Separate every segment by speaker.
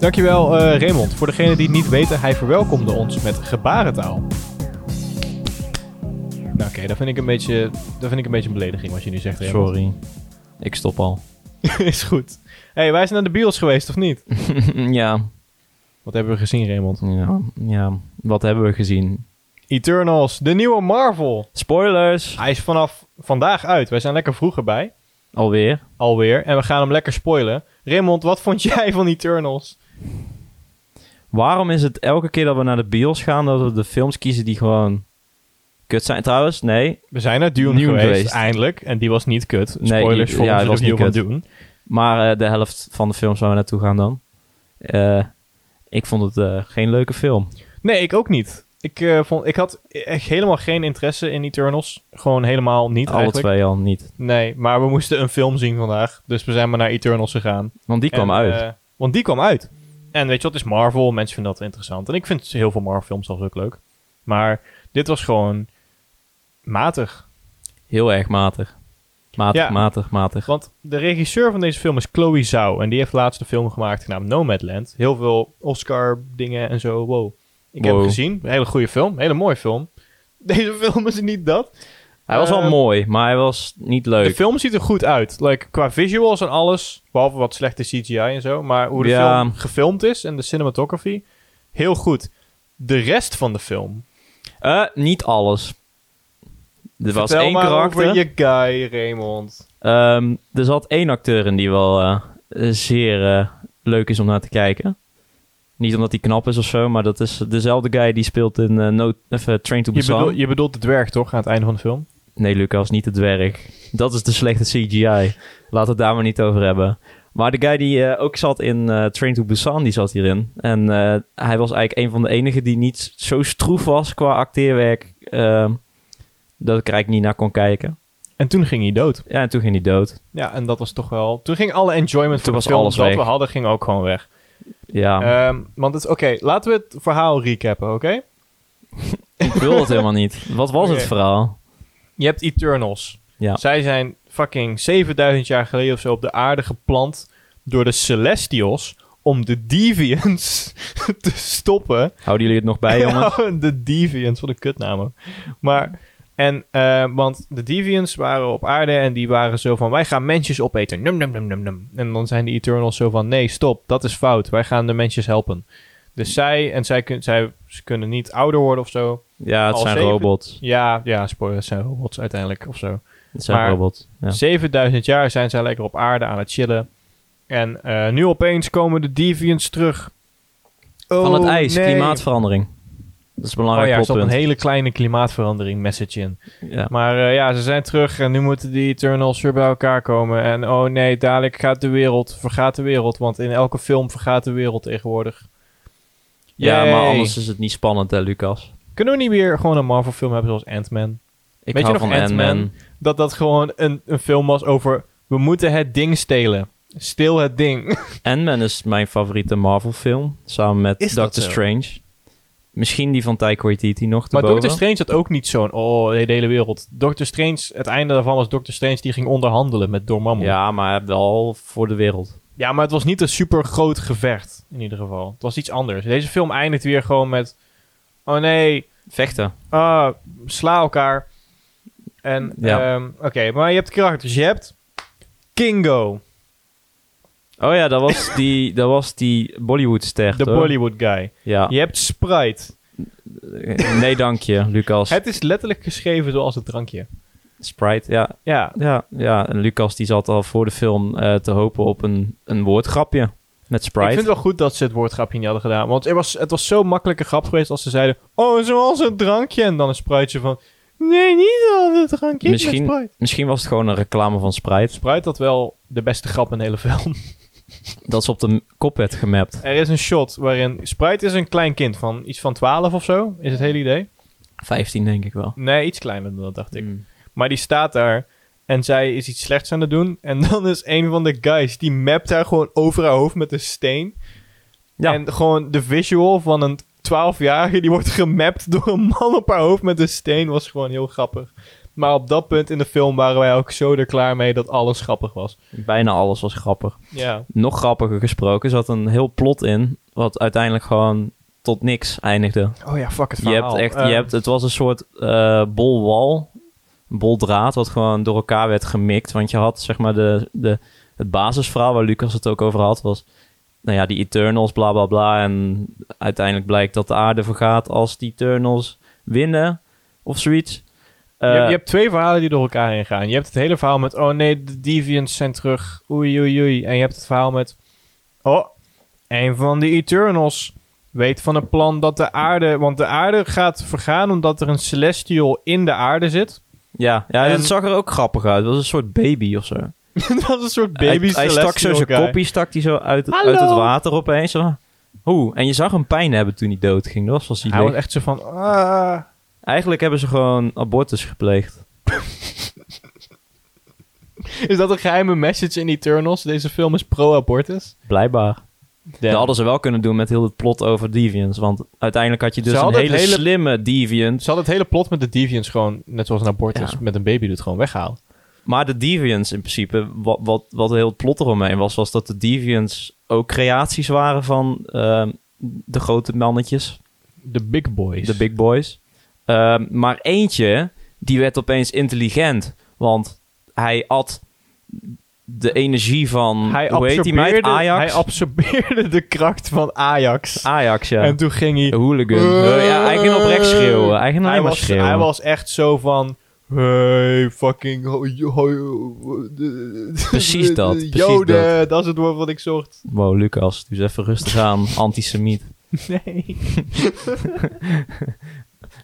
Speaker 1: Dankjewel eh Raymond. Voor degenen die het niet weten, hij verwelkomde ons met gebarentaal. Nou oké, dat vind ik een beetje, dat vind ik een beetje een belediging wat je nu zegt Raymond.
Speaker 2: Sorry. Ik stop al.
Speaker 1: Is goed. hey, wij zijn naar de bios geweest of niet?
Speaker 2: ja,
Speaker 1: Wat hebben we gezien Raymond?
Speaker 2: ja, ja. Wat hebben we gezien?
Speaker 1: Eternals, de nieuwe Marvel.
Speaker 2: Spoilers!
Speaker 1: Hij is vanaf vandaag uit. Wij zijn lekker vroeger bij.
Speaker 2: Alweer.
Speaker 1: Alweer. En we gaan hem lekker spoilen. Raymond, wat vond jij van Eternals?
Speaker 2: Waarom is het elke keer dat we naar de bios gaan, dat we de films kiezen die gewoon kut zijn? Trouwens, nee.
Speaker 1: We zijn naar Dune,
Speaker 2: Dune
Speaker 1: geweest,
Speaker 2: geweest.
Speaker 1: eindelijk. En die was niet kut.
Speaker 2: Nee,
Speaker 1: Spoilers
Speaker 2: die-
Speaker 1: voor
Speaker 2: ja,
Speaker 1: onze
Speaker 2: hij was
Speaker 1: review van
Speaker 2: niet
Speaker 1: Dune.
Speaker 2: Maar eh, de helft van de films waar we naartoe gaan dan. Eh, ik vond het eh, geen leuke film.
Speaker 1: Nee, ik ook niet. Ik, eh, vond, ik had echt helemaal geen interesse in Eternals. Gewoon helemaal niet
Speaker 2: Alle
Speaker 1: eigenlijk.
Speaker 2: twee al niet.
Speaker 1: Nee, maar we moesten een film zien vandaag. Dus we zijn maar naar Eternals gegaan.
Speaker 2: Want die kwam
Speaker 1: En,
Speaker 2: uit.
Speaker 1: eh, want die kwam uit. En weet je wat, het is Marvel. Mensen vinden dat interessant. En ik vind heel veel Marvel films zelfs ook leuk. Maar dit was gewoon matig.
Speaker 2: Heel erg matig. Matig,
Speaker 1: Ja.
Speaker 2: matig, matig.
Speaker 1: Want de regisseur van deze film is Chloe Zhao. En die heeft laatst een film gemaakt genaamd Nomadland. Heel veel Oscar dingen en zo. Wow. Ik heb
Speaker 2: Wow.
Speaker 1: hem gezien. Een hele goede film. Een hele mooie film. Deze film is niet dat.
Speaker 2: Hij was
Speaker 1: eh,
Speaker 2: wel mooi, maar hij was niet
Speaker 1: De
Speaker 2: leuk.
Speaker 1: film ziet er goed uit. Like, qua visuals en alles. Behalve wat slechte CGI en zo. Maar hoe de
Speaker 2: Ja.
Speaker 1: film gefilmd is en de cinematography. Heel goed. De rest van de film.
Speaker 2: Eh, niet alles. Er was
Speaker 1: Vertel
Speaker 2: één
Speaker 1: maar
Speaker 2: karakter.
Speaker 1: over je guy, Raymond.
Speaker 2: Ehm, er zat één acteur in die wel eh, zeer eh, leuk is om naar te kijken. Niet omdat hij knap is of zo, maar dat is dezelfde guy die speelt in eh, no, of, eh, Train to
Speaker 1: Je,
Speaker 2: Busan.
Speaker 1: bedoel- je bedoelt de dwerg, toch? Aan het einde van de film.
Speaker 2: Nee, Lucas, niet het werk. Dat is de slechte CGI. Laat het daar maar niet over hebben. Maar de guy die eh, ook zat in eh, Train to Busan, die zat hierin. En eh, hij was eigenlijk een van de enigen die niet zo stroef was qua acteerwerk. ehm, dat ik er eigenlijk niet naar kon kijken.
Speaker 1: En toen ging hij dood.
Speaker 2: Ja, en toen ging hij dood.
Speaker 1: Ja, en dat was toch wel... Toen ging alle enjoyment van
Speaker 2: Toen
Speaker 1: de
Speaker 2: was
Speaker 1: film
Speaker 2: alles
Speaker 1: dat
Speaker 2: weg.
Speaker 1: we hadden, ging ook gewoon weg.
Speaker 2: Ja,
Speaker 1: Ehm, want het is... Oké, laten we het verhaal recappen, oké?
Speaker 2: ik wil het helemaal niet. Wat was
Speaker 1: Oké.
Speaker 2: het verhaal?
Speaker 1: Je hebt Eternals.
Speaker 2: Ja.
Speaker 1: Zij zijn fucking 7000 jaar geleden of zo op de aarde geplant door de Celestials om de Deviants te stoppen.
Speaker 2: Houden jullie het nog bij, jongens?
Speaker 1: Oh, de Deviants, wat een kutnaam ook. Maar, en, eh, want de Deviants waren op aarde en die waren zo van, wij gaan mensjes opeten. Num, num, num, num, num. En dan zijn de Eternals zo van, nee, stop, dat is fout. Wij gaan de mensjes helpen. Dus zij, en zij, kun- zij ze kunnen niet ouder worden of zo.
Speaker 2: Ja, het
Speaker 1: Al
Speaker 2: zijn
Speaker 1: zeven.
Speaker 2: robots.
Speaker 1: Ja, ja, spoilers zijn robots uiteindelijk of zo.
Speaker 2: Het zijn
Speaker 1: Maar-
Speaker 2: robots. Ja.
Speaker 1: 7000 jaar zijn zij lekker op aarde aan het chillen. En eh, nu opeens komen de deviants terug.
Speaker 2: Van het
Speaker 1: Oh,
Speaker 2: ijs,
Speaker 1: nee.
Speaker 2: klimaatverandering. Dat is een
Speaker 1: Oh
Speaker 2: belangrijk
Speaker 1: ja, er zat
Speaker 2: toppunt.
Speaker 1: een hele kleine klimaatverandering message in.
Speaker 2: Ja.
Speaker 1: Maar eh, ja, ze zijn terug en nu moeten die Eternals weer bij elkaar komen. En oh nee, dadelijk gaat de wereld, vergaat de wereld. Want in elke film vergaat de wereld tegenwoordig.
Speaker 2: Ja, maar
Speaker 1: Yay.
Speaker 2: anders is het niet spannend, hè, Lucas?
Speaker 1: Kunnen we niet weer gewoon een Marvel film hebben zoals Ant-Man?
Speaker 2: Ik
Speaker 1: Weet je
Speaker 2: hou
Speaker 1: nog
Speaker 2: van Ant-Man.
Speaker 1: Ant-Man? Dat dat gewoon een, een film was over... We moeten het ding stelen. Stil het ding.
Speaker 2: Ant-Man is mijn favoriete Marvel-film, samen met
Speaker 1: Is dat
Speaker 2: Doctor
Speaker 1: zo?
Speaker 2: Strange. Misschien die van Taika Waititi nog te
Speaker 1: Maar
Speaker 2: boven.
Speaker 1: Doctor Strange had ook niet zo'n... Oh, de hele wereld. Doctor Strange, het einde daarvan was Doctor Strange... die ging onderhandelen met Dormammu.
Speaker 2: Ja, maar wel voor de wereld.
Speaker 1: Ja, maar het was niet een super groot gevecht. In ieder geval. Het was iets anders. Deze film eindigt weer gewoon met... Oh nee,
Speaker 2: Vechten.
Speaker 1: ah, sla elkaar. En,
Speaker 2: Ja.
Speaker 1: ehm, oké, maar je hebt karakters. Je hebt Kingo,
Speaker 2: Oh ja, dat was die, dat was die Bollywood-ster,
Speaker 1: de
Speaker 2: toch?
Speaker 1: Bollywood guy.
Speaker 2: Ja.
Speaker 1: Je hebt Sprite.
Speaker 2: Nee, dank je, Lucas.
Speaker 1: Het is letterlijk geschreven zoals het drankje.
Speaker 2: Sprite, ja.
Speaker 1: Ja,
Speaker 2: Ja, ja. En Lucas die zat al voor de film eh, te hopen op een, een woordgrapje met Sprite.
Speaker 1: Ik vind het wel goed dat ze het woordgrapje niet hadden gedaan. Want er was, het was zo makkelijke grap geweest als ze zeiden... Oh, zoals een drankje. En dan een spruitje van... Nee, niet zoals een drankje. Misschien...
Speaker 2: Misschien-
Speaker 1: Sprite.
Speaker 2: Misschien was het gewoon een reclame van Sprite.
Speaker 1: Sprite had wel de beste grap in de hele film.
Speaker 2: Dat is op de m- kop werd gemapt.
Speaker 1: er is een shot waarin... Sprite is een klein kind van iets van 12 of zo. Is het hele idee?
Speaker 2: 15 denk ik wel.
Speaker 1: Nee, iets kleiner dan dat dacht ik.
Speaker 2: Mm.
Speaker 1: Maar die staat daar... En zij is iets slechts aan het doen. En dan is een van de guys... Die mapt haar gewoon over haar hoofd met een steen.
Speaker 2: Ja.
Speaker 1: En gewoon de visual van een 12-jarige die wordt gemapt door een man op haar hoofd met een steen. Was gewoon heel grappig. Maar op dat punt in de film waren wij ook zo er klaar mee dat alles grappig was.
Speaker 2: Bijna alles was grappig.
Speaker 1: Ja.
Speaker 2: Nog grappiger gesproken zat een heel plot in, wat uiteindelijk gewoon tot niks eindigde.
Speaker 1: Oh ja, fuck het
Speaker 2: Je hebt
Speaker 1: verhaal.
Speaker 2: echt,
Speaker 1: Eh,
Speaker 2: je hebt, het was een soort eh bolwal, een boldraad, wat gewoon door elkaar werd gemikt. Want je had zeg maar de, de, het basisverhaal waar Lucas het ook over had, was nou ja, die Eternals, bla bla bla. En uiteindelijk blijkt dat de aarde vergaat als die Eternals winnen of zoiets.
Speaker 1: je, hebt-
Speaker 2: Eh,
Speaker 1: je hebt twee verhalen die door elkaar heen gaan. Je hebt het hele verhaal met, oh nee, de Deviants zijn terug. Oei, oei, oei. En je hebt het verhaal met, oh, een van de Eternals weet van het plan dat de aarde... Want de aarde gaat vergaan omdat er een Celestial in de aarde zit.
Speaker 2: Ja, ja
Speaker 1: En-
Speaker 2: het zag er ook grappig uit. Het was een soort baby of zo.
Speaker 1: dat was een soort
Speaker 2: Hij-
Speaker 1: baby
Speaker 2: hij, stak zo
Speaker 1: Celestial
Speaker 2: zijn
Speaker 1: guy.
Speaker 2: koppie stak hij zo uit,
Speaker 1: Hallo.
Speaker 2: uit het water opeens. Zo. Hoe? En je zag hem pijn hebben toen hij dood ging. Dat was wel zielig.
Speaker 1: Hij was echt zo van, ah.
Speaker 2: Eigenlijk hebben ze gewoon abortus gepleegd.
Speaker 1: Is dat een geheime message in Eternals? Deze film is pro-abortus.
Speaker 2: Blijkbaar. Dat hadden ze wel kunnen doen met heel het plot over deviants. Want uiteindelijk had je dus
Speaker 1: Ze
Speaker 2: een
Speaker 1: hadden
Speaker 2: hele,
Speaker 1: het hele-
Speaker 2: slimme deviant.
Speaker 1: Ze hadden het hele plot met de Deviants gewoon, net zoals een abortus,
Speaker 2: Ja.
Speaker 1: met een baby doet gewoon weghalen.
Speaker 2: Maar de deviants in principe, wat, wat, wat heel het plot eromheen was, was dat de deviants ook creaties waren van ehm, de grote mannetjes.
Speaker 1: De Big Boys.
Speaker 2: De big boys. Ehm, maar eentje, die werd opeens intelligent. Want hij at de energie van,
Speaker 1: Hij
Speaker 2: Hm, hoe heet die meid?
Speaker 1: absorbeerde,
Speaker 2: Ajax?
Speaker 1: hij absorbeerde de kracht van Ajax.
Speaker 2: Ajax, ja.
Speaker 1: En toen ging hij...
Speaker 2: De hooligan. Eh, ja, hij ging oprecht schreeuwen. Hij ging alleen
Speaker 1: Hij
Speaker 2: maar
Speaker 1: was,
Speaker 2: schreeuwen.
Speaker 1: hij was echt zo van... Hey, fucking... ho- jo- ho-
Speaker 2: Precies dat, precies
Speaker 1: Joden, dat. is het woord wat ik zocht.
Speaker 2: Wow, Lucas, doe eens even rustig aan. Antisemiet.
Speaker 1: Nee.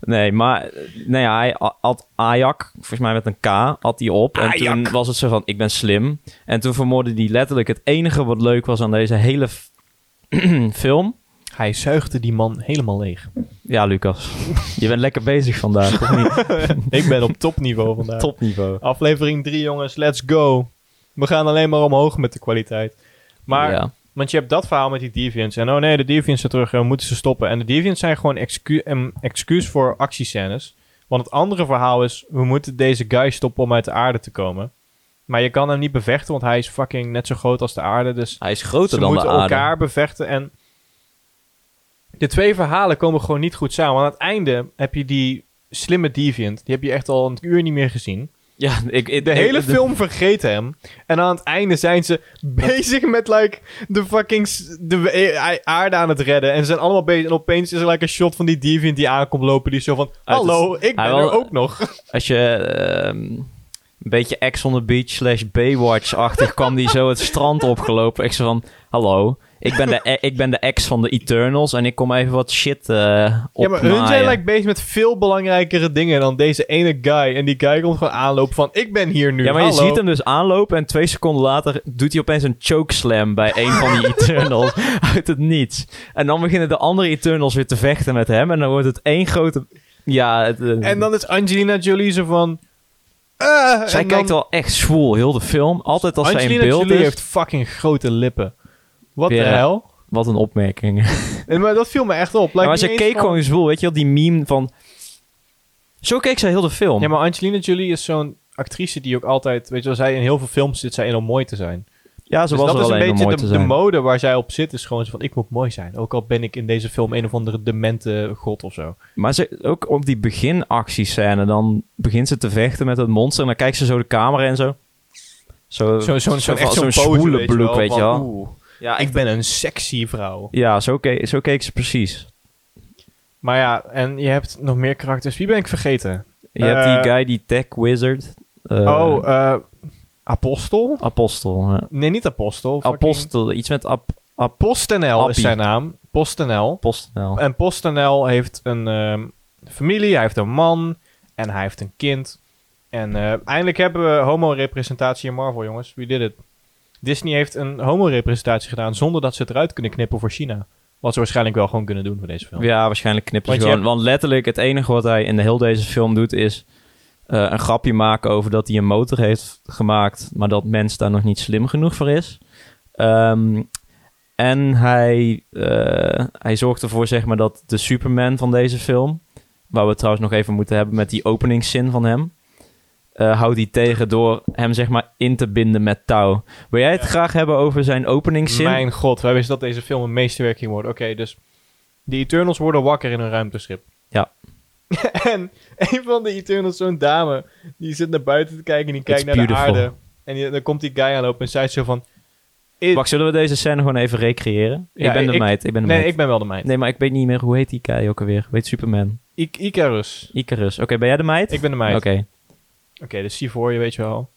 Speaker 2: Nee, maar eh, nou ja, hij a- had Ajax, volgens mij met een K, had hij op. En
Speaker 1: Ajak.
Speaker 2: toen was het zo van, ik ben slim. En toen vermoordde hij letterlijk het enige wat leuk was aan deze hele f- film.
Speaker 1: Hij zuigde die man helemaal leeg.
Speaker 2: Ja, Lucas, je bent lekker bezig vandaag, of niet?
Speaker 1: ik ben op topniveau vandaag.
Speaker 2: Topniveau.
Speaker 1: Aflevering 3, jongens, let's go. We gaan alleen maar omhoog met de kwaliteit. Maar,
Speaker 2: Ja.
Speaker 1: want je hebt dat verhaal met die deviants. En oh nee, de deviants zijn terug en we moeten ze stoppen. En de deviants zijn gewoon excu een excuus voor actiescènes. Want het andere verhaal is, we moeten deze guy stoppen om uit de aarde te komen. Maar je kan hem niet bevechten, want hij is fucking net zo groot als de aarde. Dus
Speaker 2: Hij is groter
Speaker 1: ze
Speaker 2: dan de
Speaker 1: moeten
Speaker 2: aarde.
Speaker 1: elkaar bevechten. En de twee verhalen komen gewoon niet goed samen. Aan het einde heb je die slimme deviant. Die heb je echt al een uur niet meer gezien.
Speaker 2: Ja, ik, ik-
Speaker 1: De
Speaker 2: ik-
Speaker 1: hele
Speaker 2: de-
Speaker 1: film vergeet hem. En aan het einde zijn ze bezig met, like, de fucking s- de we- eh, aarde aan het redden. En ze zijn allemaal bezig. En opeens is er, like, een shot van die deviant die aankomt lopen. Die is zo van,
Speaker 2: het-
Speaker 1: hallo, ik ben
Speaker 2: hij wel-
Speaker 1: er ook nog.
Speaker 2: Als je ehm, een beetje Ex on the Beach slash Baywatch-achtig kwam die zo het strand opgelopen. Ik zo van, hallo, ik ben, de, e-, ik ben de ex van de Eternals en ik kom even wat shit eh
Speaker 1: Ja, maar hun zijn,
Speaker 2: opnaaien.
Speaker 1: like, bezig met veel belangrijkere dingen dan deze ene guy. En die guy komt gewoon aanlopen van, ik ben hier nu,
Speaker 2: Ja, maar je
Speaker 1: hallo.
Speaker 2: ziet hem dus aanlopen en twee seconden later doet hij opeens een chokeslam bij een van die Eternals uit het niets. En dan beginnen de andere Eternals weer te vechten met hem en dan wordt het één grote... Ja, het, eh,
Speaker 1: En dan is Angelina Jolie zo van... eh,
Speaker 2: zij
Speaker 1: en dan-
Speaker 2: kijkt wel echt zwoel, heel de film. Altijd als zij in
Speaker 1: Angelina
Speaker 2: beeld
Speaker 1: Jolie
Speaker 2: is.
Speaker 1: heeft fucking grote lippen. Wat de
Speaker 2: Ja.
Speaker 1: hel?
Speaker 2: Wat een opmerking.
Speaker 1: En, maar dat viel me echt op. Like,
Speaker 2: Ja, maar
Speaker 1: niet
Speaker 2: ze
Speaker 1: eens
Speaker 2: keek
Speaker 1: van-
Speaker 2: gewoon zwoel, weet je wel, die meme van... Zo keek zij heel de film.
Speaker 1: Ja, maar Angelina Jolie is zo'n actrice die ook altijd... Weet je wel, zij in heel veel films zit zij in om mooi te zijn.
Speaker 2: ja ze
Speaker 1: Dus
Speaker 2: was
Speaker 1: dat is
Speaker 2: er alleen
Speaker 1: een
Speaker 2: om
Speaker 1: beetje
Speaker 2: mooi
Speaker 1: de,
Speaker 2: te
Speaker 1: de
Speaker 2: zijn.
Speaker 1: mode waar zij op zit. Is gewoon zo van, ik moet mooi zijn. Ook al ben ik in deze film een of andere demente god of zo.
Speaker 2: maar ze, ook op die beginactiescène, dan begint ze te vechten met het monster... en dan kijkt ze zo de camera en zo. Zo,
Speaker 1: Zo'n zo,
Speaker 2: van-
Speaker 1: zo'n echt zo'n
Speaker 2: zo'n
Speaker 1: pose,
Speaker 2: zwoele
Speaker 1: weet je
Speaker 2: bloek,
Speaker 1: wel,
Speaker 2: weet
Speaker 1: van,
Speaker 2: je wel.
Speaker 1: oeh,
Speaker 2: Ja,
Speaker 1: ik ben een sexy vrouw.
Speaker 2: ja zo, keek, zo keek ze precies.
Speaker 1: Maar ja, en je hebt nog meer karakters. Wie ben ik vergeten?
Speaker 2: Je hebt die
Speaker 1: Eh,
Speaker 2: guy, die tech wizard. eh,
Speaker 1: oh, eh, Apostel?
Speaker 2: Apostel. ja.
Speaker 1: Nee, niet Apostel. fucking-
Speaker 2: Apostel, iets met ap, ap,
Speaker 1: PostNL
Speaker 2: Appie.
Speaker 1: is zijn naam. PostNL.
Speaker 2: apostel.
Speaker 1: En PostNL heeft een ehm, familie, hij heeft een man en hij heeft een kind. En eh, eindelijk hebben we homo-representatie in Marvel, jongens. We did it. Disney heeft een homo-representatie gedaan zonder dat ze het eruit kunnen knippen voor China. Wat ze waarschijnlijk wel gewoon kunnen doen voor deze film.
Speaker 2: Ja, waarschijnlijk knipt hij
Speaker 1: Want je
Speaker 2: gewoon. Want letterlijk het enige wat hij in de heel deze film doet is eh, een grapje maken over dat hij een motor heeft gemaakt, maar dat mens daar nog niet slim genoeg voor is. Ehm, En hij, eh, hij zorgt ervoor, zeg maar, dat de Superman van deze film... waar we het trouwens nog even moeten hebben met die openingszin van hem... eh, houdt hij tegen door hem, zeg maar, in te binden met touw. Wil jij het
Speaker 1: Ja.
Speaker 2: graag hebben over zijn openingszin?
Speaker 1: Mijn god, wij wisten dat deze film een meesterwerking wordt. Oké, dus de Eternals worden wakker in een ruimteschip.
Speaker 2: Ja.
Speaker 1: en een van de Eternals, zo'n dame, die zit naar buiten te kijken en die kijkt
Speaker 2: It's
Speaker 1: naar
Speaker 2: beautiful.
Speaker 1: de aarde. En die- dan komt die guy aanlopen en zij is zo van... "It-
Speaker 2: Wacht, zullen we deze scène gewoon even recreëren?
Speaker 1: Ja,
Speaker 2: ik ben de
Speaker 1: ik-
Speaker 2: meid, ik ben de
Speaker 1: nee,
Speaker 2: meid.
Speaker 1: ik ben wel de meid.
Speaker 2: Nee, maar ik weet niet meer, hoe heet die guy ook alweer? Weet Superman?
Speaker 1: I- Icarus.
Speaker 2: Icarus. Oké, ben jij de meid?
Speaker 1: Ik ben de meid.
Speaker 2: Oké,
Speaker 1: Oké, dus zie voor je, weet je wel.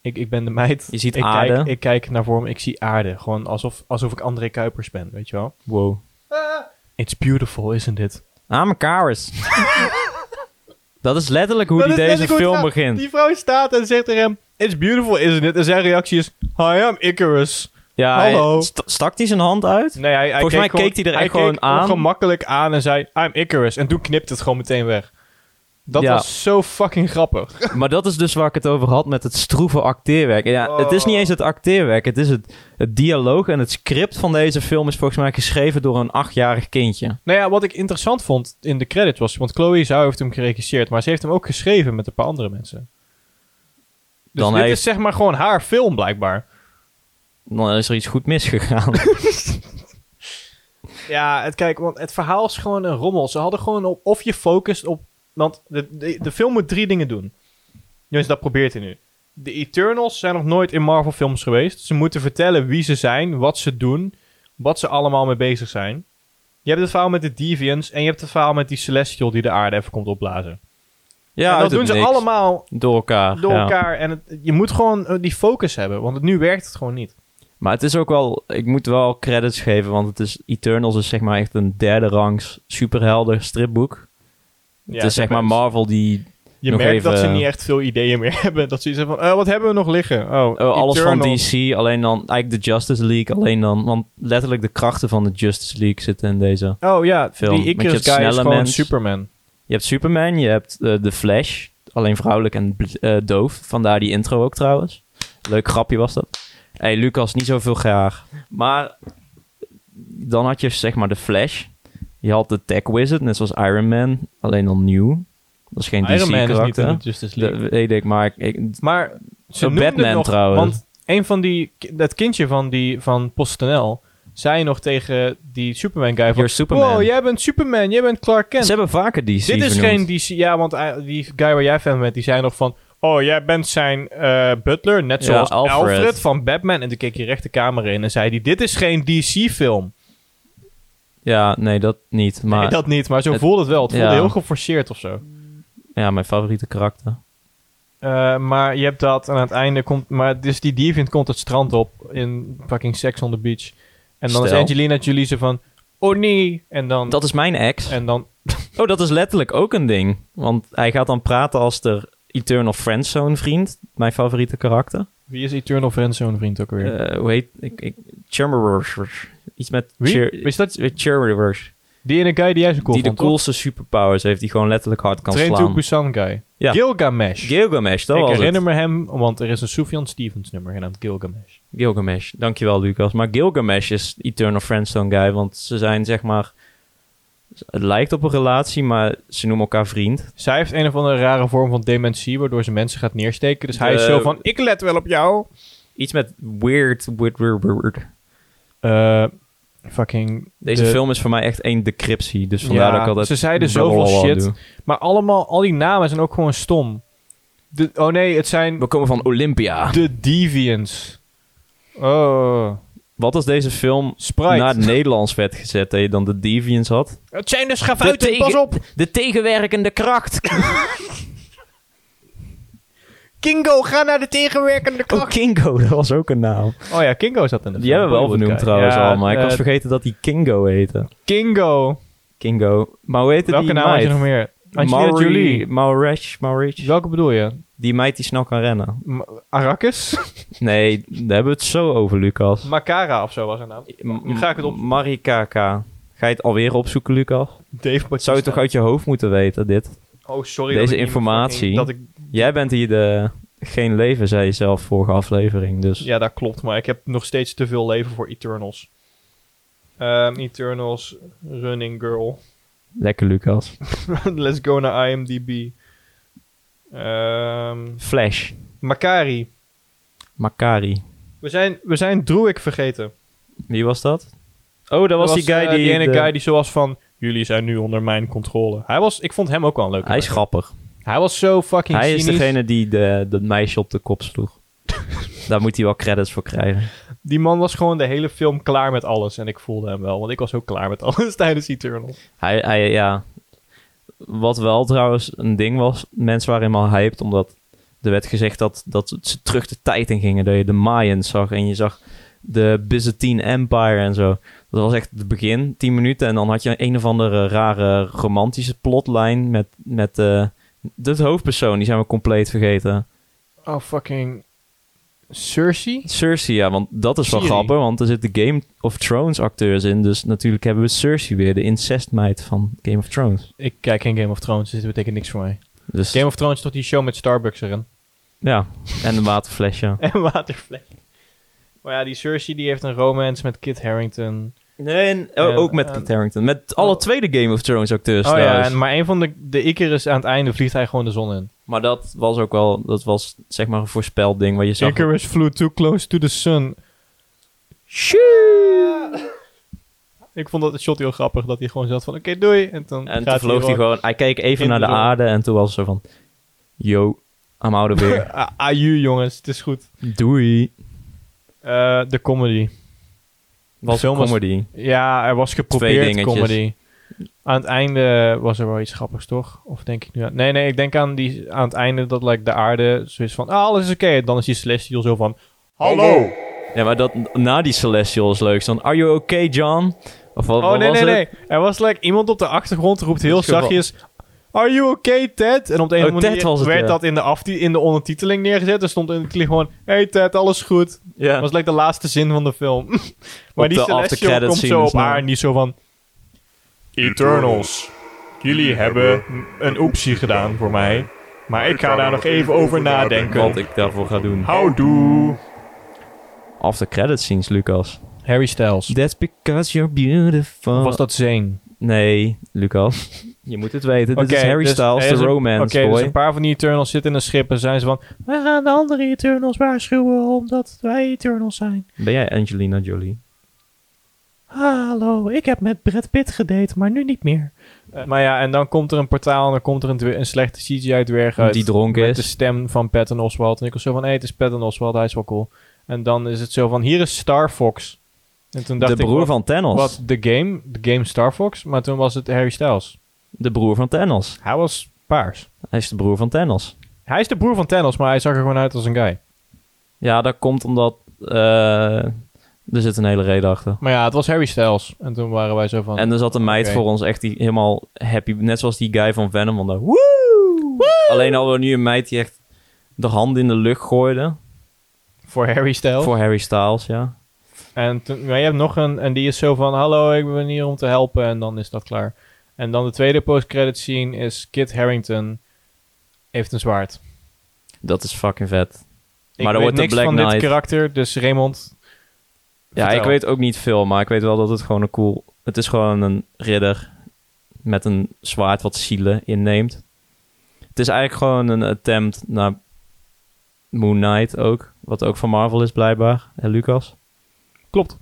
Speaker 1: Ik, ik ben de meid.
Speaker 2: je ziet
Speaker 1: ik
Speaker 2: aarde.
Speaker 1: Kijk, ik kijk naar vorm, ik zie aarde. Gewoon alsof, alsof ik André Kuipers ben, weet je wel.
Speaker 2: Wow.
Speaker 1: It's beautiful, isn't it?
Speaker 2: I'm a Karis. dat is letterlijk hoe
Speaker 1: Dat
Speaker 2: die
Speaker 1: is
Speaker 2: deze
Speaker 1: letterlijk hoe
Speaker 2: film
Speaker 1: het gaat.
Speaker 2: begint.
Speaker 1: Die vrouw staat en zegt tegen hem... It's beautiful, isn't it? En zijn reactie is... I am Icarus.
Speaker 2: Ja, hij-
Speaker 1: Hallo.
Speaker 2: st- stak hij zijn hand uit?
Speaker 1: Nee, hij, hij
Speaker 2: Volgens mij
Speaker 1: gewoon-
Speaker 2: keek hij er echt
Speaker 1: keek
Speaker 2: gewoon aan.
Speaker 1: ongemakkelijk aan en zei... I'm Icarus. En toen knipte het gewoon meteen weg. Dat
Speaker 2: Ja.
Speaker 1: was zo fucking grappig.
Speaker 2: Maar dat is dus waar ik het over had met het stroeve acteerwerk. Ja, Het is niet eens het acteerwerk, het is het, het dialoog en het script van deze film is volgens mij geschreven door een achtjarig kindje.
Speaker 1: Nou ja, wat ik interessant vond in de credits was... Want Chloe Zhao heeft hem geregisseerd... maar ze heeft hem ook geschreven met een paar andere mensen. Dus
Speaker 2: Dan
Speaker 1: dit
Speaker 2: heeft-
Speaker 1: is zeg maar gewoon haar film blijkbaar.
Speaker 2: Dan Nou, is er iets goed misgegaan.
Speaker 1: Ja, het, kijk, want het verhaal is gewoon een rommel. Ze hadden gewoon op... Of je focust op... Want de, de, de film moet drie dingen doen. Dus dat probeert hij nu. De Eternals zijn nog nooit in Marvel films geweest. Ze moeten vertellen wie ze zijn, wat ze doen... wat ze allemaal mee bezig zijn. Je hebt het verhaal met de Deviants... en je hebt het verhaal met die Celestial die de aarde even komt opblazen.
Speaker 2: ja,
Speaker 1: en
Speaker 2: uit
Speaker 1: dat
Speaker 2: het
Speaker 1: doen ze
Speaker 2: niks.
Speaker 1: allemaal
Speaker 2: door elkaar.
Speaker 1: door
Speaker 2: ja.
Speaker 1: elkaar. En het- je moet gewoon eh, die focus hebben, want het- nu werkt het gewoon niet.
Speaker 2: Maar het is ook wel, ik moet wel credits geven, want het is Eternals is zeg maar echt een derde rangs superhelder stripboek. het is zeg maar Marvel die
Speaker 1: Je
Speaker 2: nog
Speaker 1: merkt dat ze
Speaker 2: even-
Speaker 1: niet echt veel ideeën meer hebben. Dat ze iets hebben van, eh, wat hebben we nog liggen? Oh,
Speaker 2: Oh, alles van
Speaker 1: Eternals.
Speaker 2: DC, alleen dan eigenlijk de Justice League, alleen dan, want letterlijk de krachten van de Justice League zitten in deze.
Speaker 1: Oh ja,
Speaker 2: Film.
Speaker 1: die
Speaker 2: Want je hebt
Speaker 1: Icarus guy is
Speaker 2: snelle
Speaker 1: gewoon
Speaker 2: mens.
Speaker 1: Superman.
Speaker 2: Je hebt Superman, je hebt eh, de Flash, alleen vrouwelijk en bl- eh, doof, vandaar die intro ook trouwens. Leuk grapje was dat. hey, Lucas, niet zoveel graag. Maar dan had je zeg maar de Flash, je had de Tech Wizard, net zoals Iron Man, alleen dan nieuw. Dat is geen DC
Speaker 1: Iron Man is niet in de
Speaker 2: karakter.
Speaker 1: Justice League.
Speaker 2: Dat weet ik, maar ik- ik,
Speaker 1: maar ze
Speaker 2: Oh,
Speaker 1: noemden
Speaker 2: Batman
Speaker 1: nog,
Speaker 2: trouwens.
Speaker 1: Want een van die, dat kindje van, die, van PostNL zei nog tegen die Superman guy van...
Speaker 2: You're Superman.
Speaker 1: Wow, jij bent Superman, jij bent Clark Kent.
Speaker 2: ze hebben vaker DC
Speaker 1: Dit is
Speaker 2: vernoemd.
Speaker 1: geen DC. Ja, want eh, die guy waar jij fan bent, die zei nog van... Oh, jij bent zijn eh, butler, net
Speaker 2: Ja,
Speaker 1: zoals
Speaker 2: Alfred.
Speaker 1: Alfred. van Batman. En toen keek hij recht de camera in en zei hij... Dit is geen DC-film.
Speaker 2: Ja, nee, dat niet. Maar
Speaker 1: Nee, dat niet, maar zo
Speaker 2: het-
Speaker 1: voelde het wel. Het voelde
Speaker 2: ja.
Speaker 1: heel geforceerd of zo.
Speaker 2: ja, mijn favoriete karakter.
Speaker 1: Eh, maar je hebt dat en aan het einde komt... Maar dus die deviant komt het strand op in fucking Sex on the Beach. En dan is
Speaker 2: Stel.
Speaker 1: Angelina Jolie zo van... Oh nee! En dan...
Speaker 2: Dat is mijn ex.
Speaker 1: En dan...
Speaker 2: Oh, dat is letterlijk ook een ding. Want hij gaat dan praten als de Eternal Friendzone vriend. Mijn favoriete karakter.
Speaker 1: Wie is Eternal Friendzone vriend ook weer?
Speaker 2: Eh, hoe heet... Ik, ik, Chummerworth. Iets met...
Speaker 1: Wie?
Speaker 2: Chir-
Speaker 1: Is dat-
Speaker 2: met Chummerworth.
Speaker 1: die ene guy die jij zo cool
Speaker 2: die de
Speaker 1: vond, toch?
Speaker 2: coolste superpowers heeft. Die gewoon letterlijk hard kan
Speaker 1: Train to
Speaker 2: slaan.
Speaker 1: Busan guy.
Speaker 2: Ja.
Speaker 1: Gilgamesh.
Speaker 2: Gilgamesh, dat
Speaker 1: ik
Speaker 2: was
Speaker 1: herinner
Speaker 2: het.
Speaker 1: me hem, want er is een Sufjan Stevens nummer genaamd Gilgamesh.
Speaker 2: Gilgamesh. Dankjewel, Lucas. Maar Gilgamesh is Eternal Friendzone guy. Want ze zijn zeg maar... Het lijkt op een relatie, maar ze noemen elkaar vriend.
Speaker 1: Zij heeft een of andere rare vorm van dementie, waardoor ze mensen gaat neersteken. Dus hij
Speaker 2: De-
Speaker 1: is zo van, ik let wel op jou.
Speaker 2: Iets met weird, weird, weird, weird.
Speaker 1: Eh, fucking...
Speaker 2: Deze
Speaker 1: de-
Speaker 2: film is voor mij echt één decryptie. Dus vandaar
Speaker 1: Ja,
Speaker 2: dat ik altijd...
Speaker 1: ze zeiden
Speaker 2: blablabla
Speaker 1: zoveel shit.
Speaker 2: doe.
Speaker 1: Maar allemaal, al die namen zijn ook gewoon stom. De, oh nee, het zijn
Speaker 2: We komen van Olympia.
Speaker 1: de Deviants. Oh,
Speaker 2: Wat als deze film
Speaker 1: Sprite.
Speaker 2: naar het Nederlands werd gezet... dat je dan de Deviants had?
Speaker 1: het zijn de
Speaker 2: De
Speaker 1: schavuiten,
Speaker 2: tegen-
Speaker 1: pas op!
Speaker 2: De tegenwerkende kracht.
Speaker 1: Kingo, ga naar de tegenwerkende
Speaker 2: Oh,
Speaker 1: kracht.
Speaker 2: Kingo. Dat was ook een naam.
Speaker 1: Oh, ja, Kingo zat in de
Speaker 2: Die
Speaker 1: film.
Speaker 2: hebben we wel
Speaker 1: Hollywood
Speaker 2: benoemd
Speaker 1: guy.
Speaker 2: trouwens
Speaker 1: Ja,
Speaker 2: al. Maar ik
Speaker 1: eh,
Speaker 2: was vergeten dat die Kingo heette.
Speaker 1: Kingo.
Speaker 2: Kingo. Maar hoe heette
Speaker 1: Welke
Speaker 2: die
Speaker 1: naam had je nog meer? Angelina Jolie.
Speaker 2: Maurice. Maurice.
Speaker 1: Welke bedoel je?
Speaker 2: Die meid die snel kan rennen.
Speaker 1: M- Arrakis?
Speaker 2: Nee, daar hebben we het zo over, Lucas.
Speaker 1: Makara of zo was haar naam. Nu ga ik het op-
Speaker 2: Marikaka. Ga je het alweer opzoeken, Lucas?
Speaker 1: Dave Bautista.
Speaker 2: Zou je toch uit je hoofd moeten weten, dit?
Speaker 1: Oh, sorry.
Speaker 2: Deze
Speaker 1: dat ik niet
Speaker 2: informatie.
Speaker 1: fucking- dat ik...
Speaker 2: Jij bent hier de... Geen leven, zei je zelf vorige aflevering, dus...
Speaker 1: Ja, dat klopt. Maar ik heb nog steeds te veel leven voor Eternals. Ehm, Eternals Running Girl.
Speaker 2: Lekker, Lucas.
Speaker 1: Let's go naar IMDb. Ehm,
Speaker 2: Flash.
Speaker 1: Makari.
Speaker 2: Makari.
Speaker 1: We zijn, we zijn Druik vergeten.
Speaker 2: Wie was dat? Oh, dat was, die guy
Speaker 1: eh,
Speaker 2: die...
Speaker 1: ene
Speaker 2: de-
Speaker 1: guy die zo was van... Jullie zijn nu onder mijn controle. Hij was... Ik vond hem ook wel een leuke.
Speaker 2: Hij is
Speaker 1: gast.
Speaker 2: grappig.
Speaker 1: Hij was zo fucking
Speaker 2: Hij is
Speaker 1: cynisch.
Speaker 2: degene die de, dat meisje op de kop sloeg. Daar moet hij wel credits voor krijgen.
Speaker 1: Die man was gewoon de hele film klaar met alles. En ik voelde hem wel. Want ik was ook klaar met alles tijdens Eternals.
Speaker 2: Hij, hij, ja. Wat wel trouwens een ding was, mensen waren helemaal hyped, omdat er werd gezegd dat, dat ze terug de tijd in gingen, dat je de Mayans zag en je zag de Byzantine Empire en zo. Dat was echt het begin, 10 minuten, en dan had je een of andere rare romantische plotlijn met, met eh, de hoofdpersoon, die zijn we compleet vergeten.
Speaker 1: Oh, fucking... Cersei?
Speaker 2: Cersei, ja, want dat is wel
Speaker 1: Siri.
Speaker 2: grappig, want er zitten Game of Thrones acteurs in, dus natuurlijk hebben we Cersei weer, de incestmeid van Game of Thrones.
Speaker 1: Ik kijk geen Game of Thrones. Dus dit betekent niks voor mij.
Speaker 2: Dus,
Speaker 1: Game of Thrones is toch die show met Starbucks erin?
Speaker 2: Ja, en een waterflesje.
Speaker 1: En watervlek. Maar ja, die Cersei die heeft een romance met Kit Harrington.
Speaker 2: Nee, en, oh,
Speaker 1: En-
Speaker 2: ook met
Speaker 1: en-
Speaker 2: Kit Harington. Met alle
Speaker 1: Oh.
Speaker 2: tweede Game of Thrones acteurs
Speaker 1: oh ja,
Speaker 2: trouwens.
Speaker 1: en, maar een van de, de Icarus aan het einde vliegt hij gewoon de zon in.
Speaker 2: Maar dat was ook wel, dat was zeg maar een voorspeld ding waar je zag.
Speaker 1: Icarus flew too close to the sun. Ik vond dat shot heel grappig, dat hij gewoon zat van oké, doei. En, dan
Speaker 2: En toen
Speaker 1: eh, gaat
Speaker 2: vloog hij
Speaker 1: gewoon...
Speaker 2: gewoon, hij keek even
Speaker 1: in
Speaker 2: naar
Speaker 1: de
Speaker 2: de
Speaker 1: zon.
Speaker 2: aarde en toen was ze van, yo, I'm out of here.
Speaker 1: Ah, Aju jongens, het is goed.
Speaker 2: Doei.
Speaker 1: Eh, de comedy.
Speaker 2: Was
Speaker 1: film
Speaker 2: een
Speaker 1: was-
Speaker 2: comedy.
Speaker 1: Ja, er was geprobeerd
Speaker 2: dingetjes.
Speaker 1: comedy. Aan het einde was er wel iets grappigs, toch? Of denk ik nu aan... Nee, nee, ik denk aan, die, aan het einde dat like, de aarde zo is van... Ah, alles is oké. En dan is die Celestial zo van... Hallo!
Speaker 2: Ja, maar dat, na die Celestial is leuk. Dan, are you okay, John? Of wat,
Speaker 1: Oh,
Speaker 2: wat
Speaker 1: nee,
Speaker 2: was
Speaker 1: nee,
Speaker 2: het?
Speaker 1: nee. Er was like, iemand op de achtergrond roept heel
Speaker 2: Dat is gewoon-
Speaker 1: zachtjes... Are you okay, Ted? En op de ene
Speaker 2: Oh, Ted
Speaker 1: manier
Speaker 2: was het,
Speaker 1: werd
Speaker 2: ja.
Speaker 1: dat in de, afti- in de ondertiteling neergezet. Er stond in de klik gewoon... Hey Ted, alles goed.
Speaker 2: Ja.
Speaker 1: Dat was like, de laatste zin van de film. maar
Speaker 2: Op
Speaker 1: die
Speaker 2: de
Speaker 1: Celestial
Speaker 2: aftercredits
Speaker 1: komt
Speaker 2: scene
Speaker 1: zo
Speaker 2: is
Speaker 1: op
Speaker 2: nou-
Speaker 1: haar en die is zo van... Eternals, jullie hebben een optie gedaan voor mij. Maar ik ga daar nog even over
Speaker 2: Wat
Speaker 1: nadenken.
Speaker 2: ik daarvoor ga doen.
Speaker 1: Houdoe.
Speaker 2: After credits scenes, Lucas.
Speaker 1: Harry Styles.
Speaker 2: That's because you're beautiful.
Speaker 1: Was dat Zane?
Speaker 2: Nee, Lucas. Je moet het weten. Dit is
Speaker 1: Oké,
Speaker 2: Harry
Speaker 1: dus
Speaker 2: Styles,
Speaker 1: er is
Speaker 2: de
Speaker 1: een-
Speaker 2: romance
Speaker 1: Oké,
Speaker 2: boy.
Speaker 1: dus een paar van die Eternals zitten in een schip en zijn ze van... We gaan de andere Eternals waarschuwen omdat wij Eternals zijn.
Speaker 2: Ben jij Angelina Jolie?
Speaker 1: Hallo, ik heb met Brad Pitt gedate, maar nu niet meer. Eh, maar ja, en dan komt er een portaal en dan komt er een, dwe- een slechte CGI-dwerg uit.
Speaker 2: die dronken
Speaker 1: met de
Speaker 2: is.
Speaker 1: stem van Patton Oswald. En ik was zo van, hé, het is Patton Oswald, hij is wel cool. En dan is het zo van, hier is Star Fox. En toen dacht
Speaker 2: De broer
Speaker 1: ik,
Speaker 2: van Thanos.
Speaker 1: wat, de game? De game Star Fox? Maar toen was het Harry Styles.
Speaker 2: De broer van Thanos.
Speaker 1: Hij was paars.
Speaker 2: Hij is de broer van Thanos.
Speaker 1: Hij is de broer van Thanos, maar hij zag er gewoon uit als een guy.
Speaker 2: Ja, dat komt omdat... eh, er zit een hele reden achter.
Speaker 1: Maar ja, het was Harry Styles. En toen waren wij zo van...
Speaker 2: En er zat een meid
Speaker 1: Oké.
Speaker 2: voor ons echt die helemaal happy... Net zoals die guy van Venom. Want daar, woe! Alleen hadden we nu een meid die echt de hand in de lucht gooide.
Speaker 1: voor Harry Styles.
Speaker 2: Voor Harry Styles, ja.
Speaker 1: En toen, maar je hebt nog een... En die is zo van... Hallo, ik ben hier om te helpen. En dan is dat klaar. En dan de tweede post-credit scene is... Kit Harrington heeft een zwaard.
Speaker 2: Dat is fucking vet.
Speaker 1: Ik
Speaker 2: Maar
Speaker 1: weet
Speaker 2: dan wordt de
Speaker 1: niks
Speaker 2: Black
Speaker 1: van
Speaker 2: Knight.
Speaker 1: dit karakter. Dus Raymond...
Speaker 2: Ja,
Speaker 1: vertel.
Speaker 2: ik weet ook niet veel, maar ik weet wel dat het gewoon een cool... Het is gewoon een ridder met een zwaard wat zielen inneemt. Het is eigenlijk gewoon een attempt naar Moon Knight ook. Wat ook van Marvel is blijkbaar, hè Lucas?
Speaker 1: Klopt.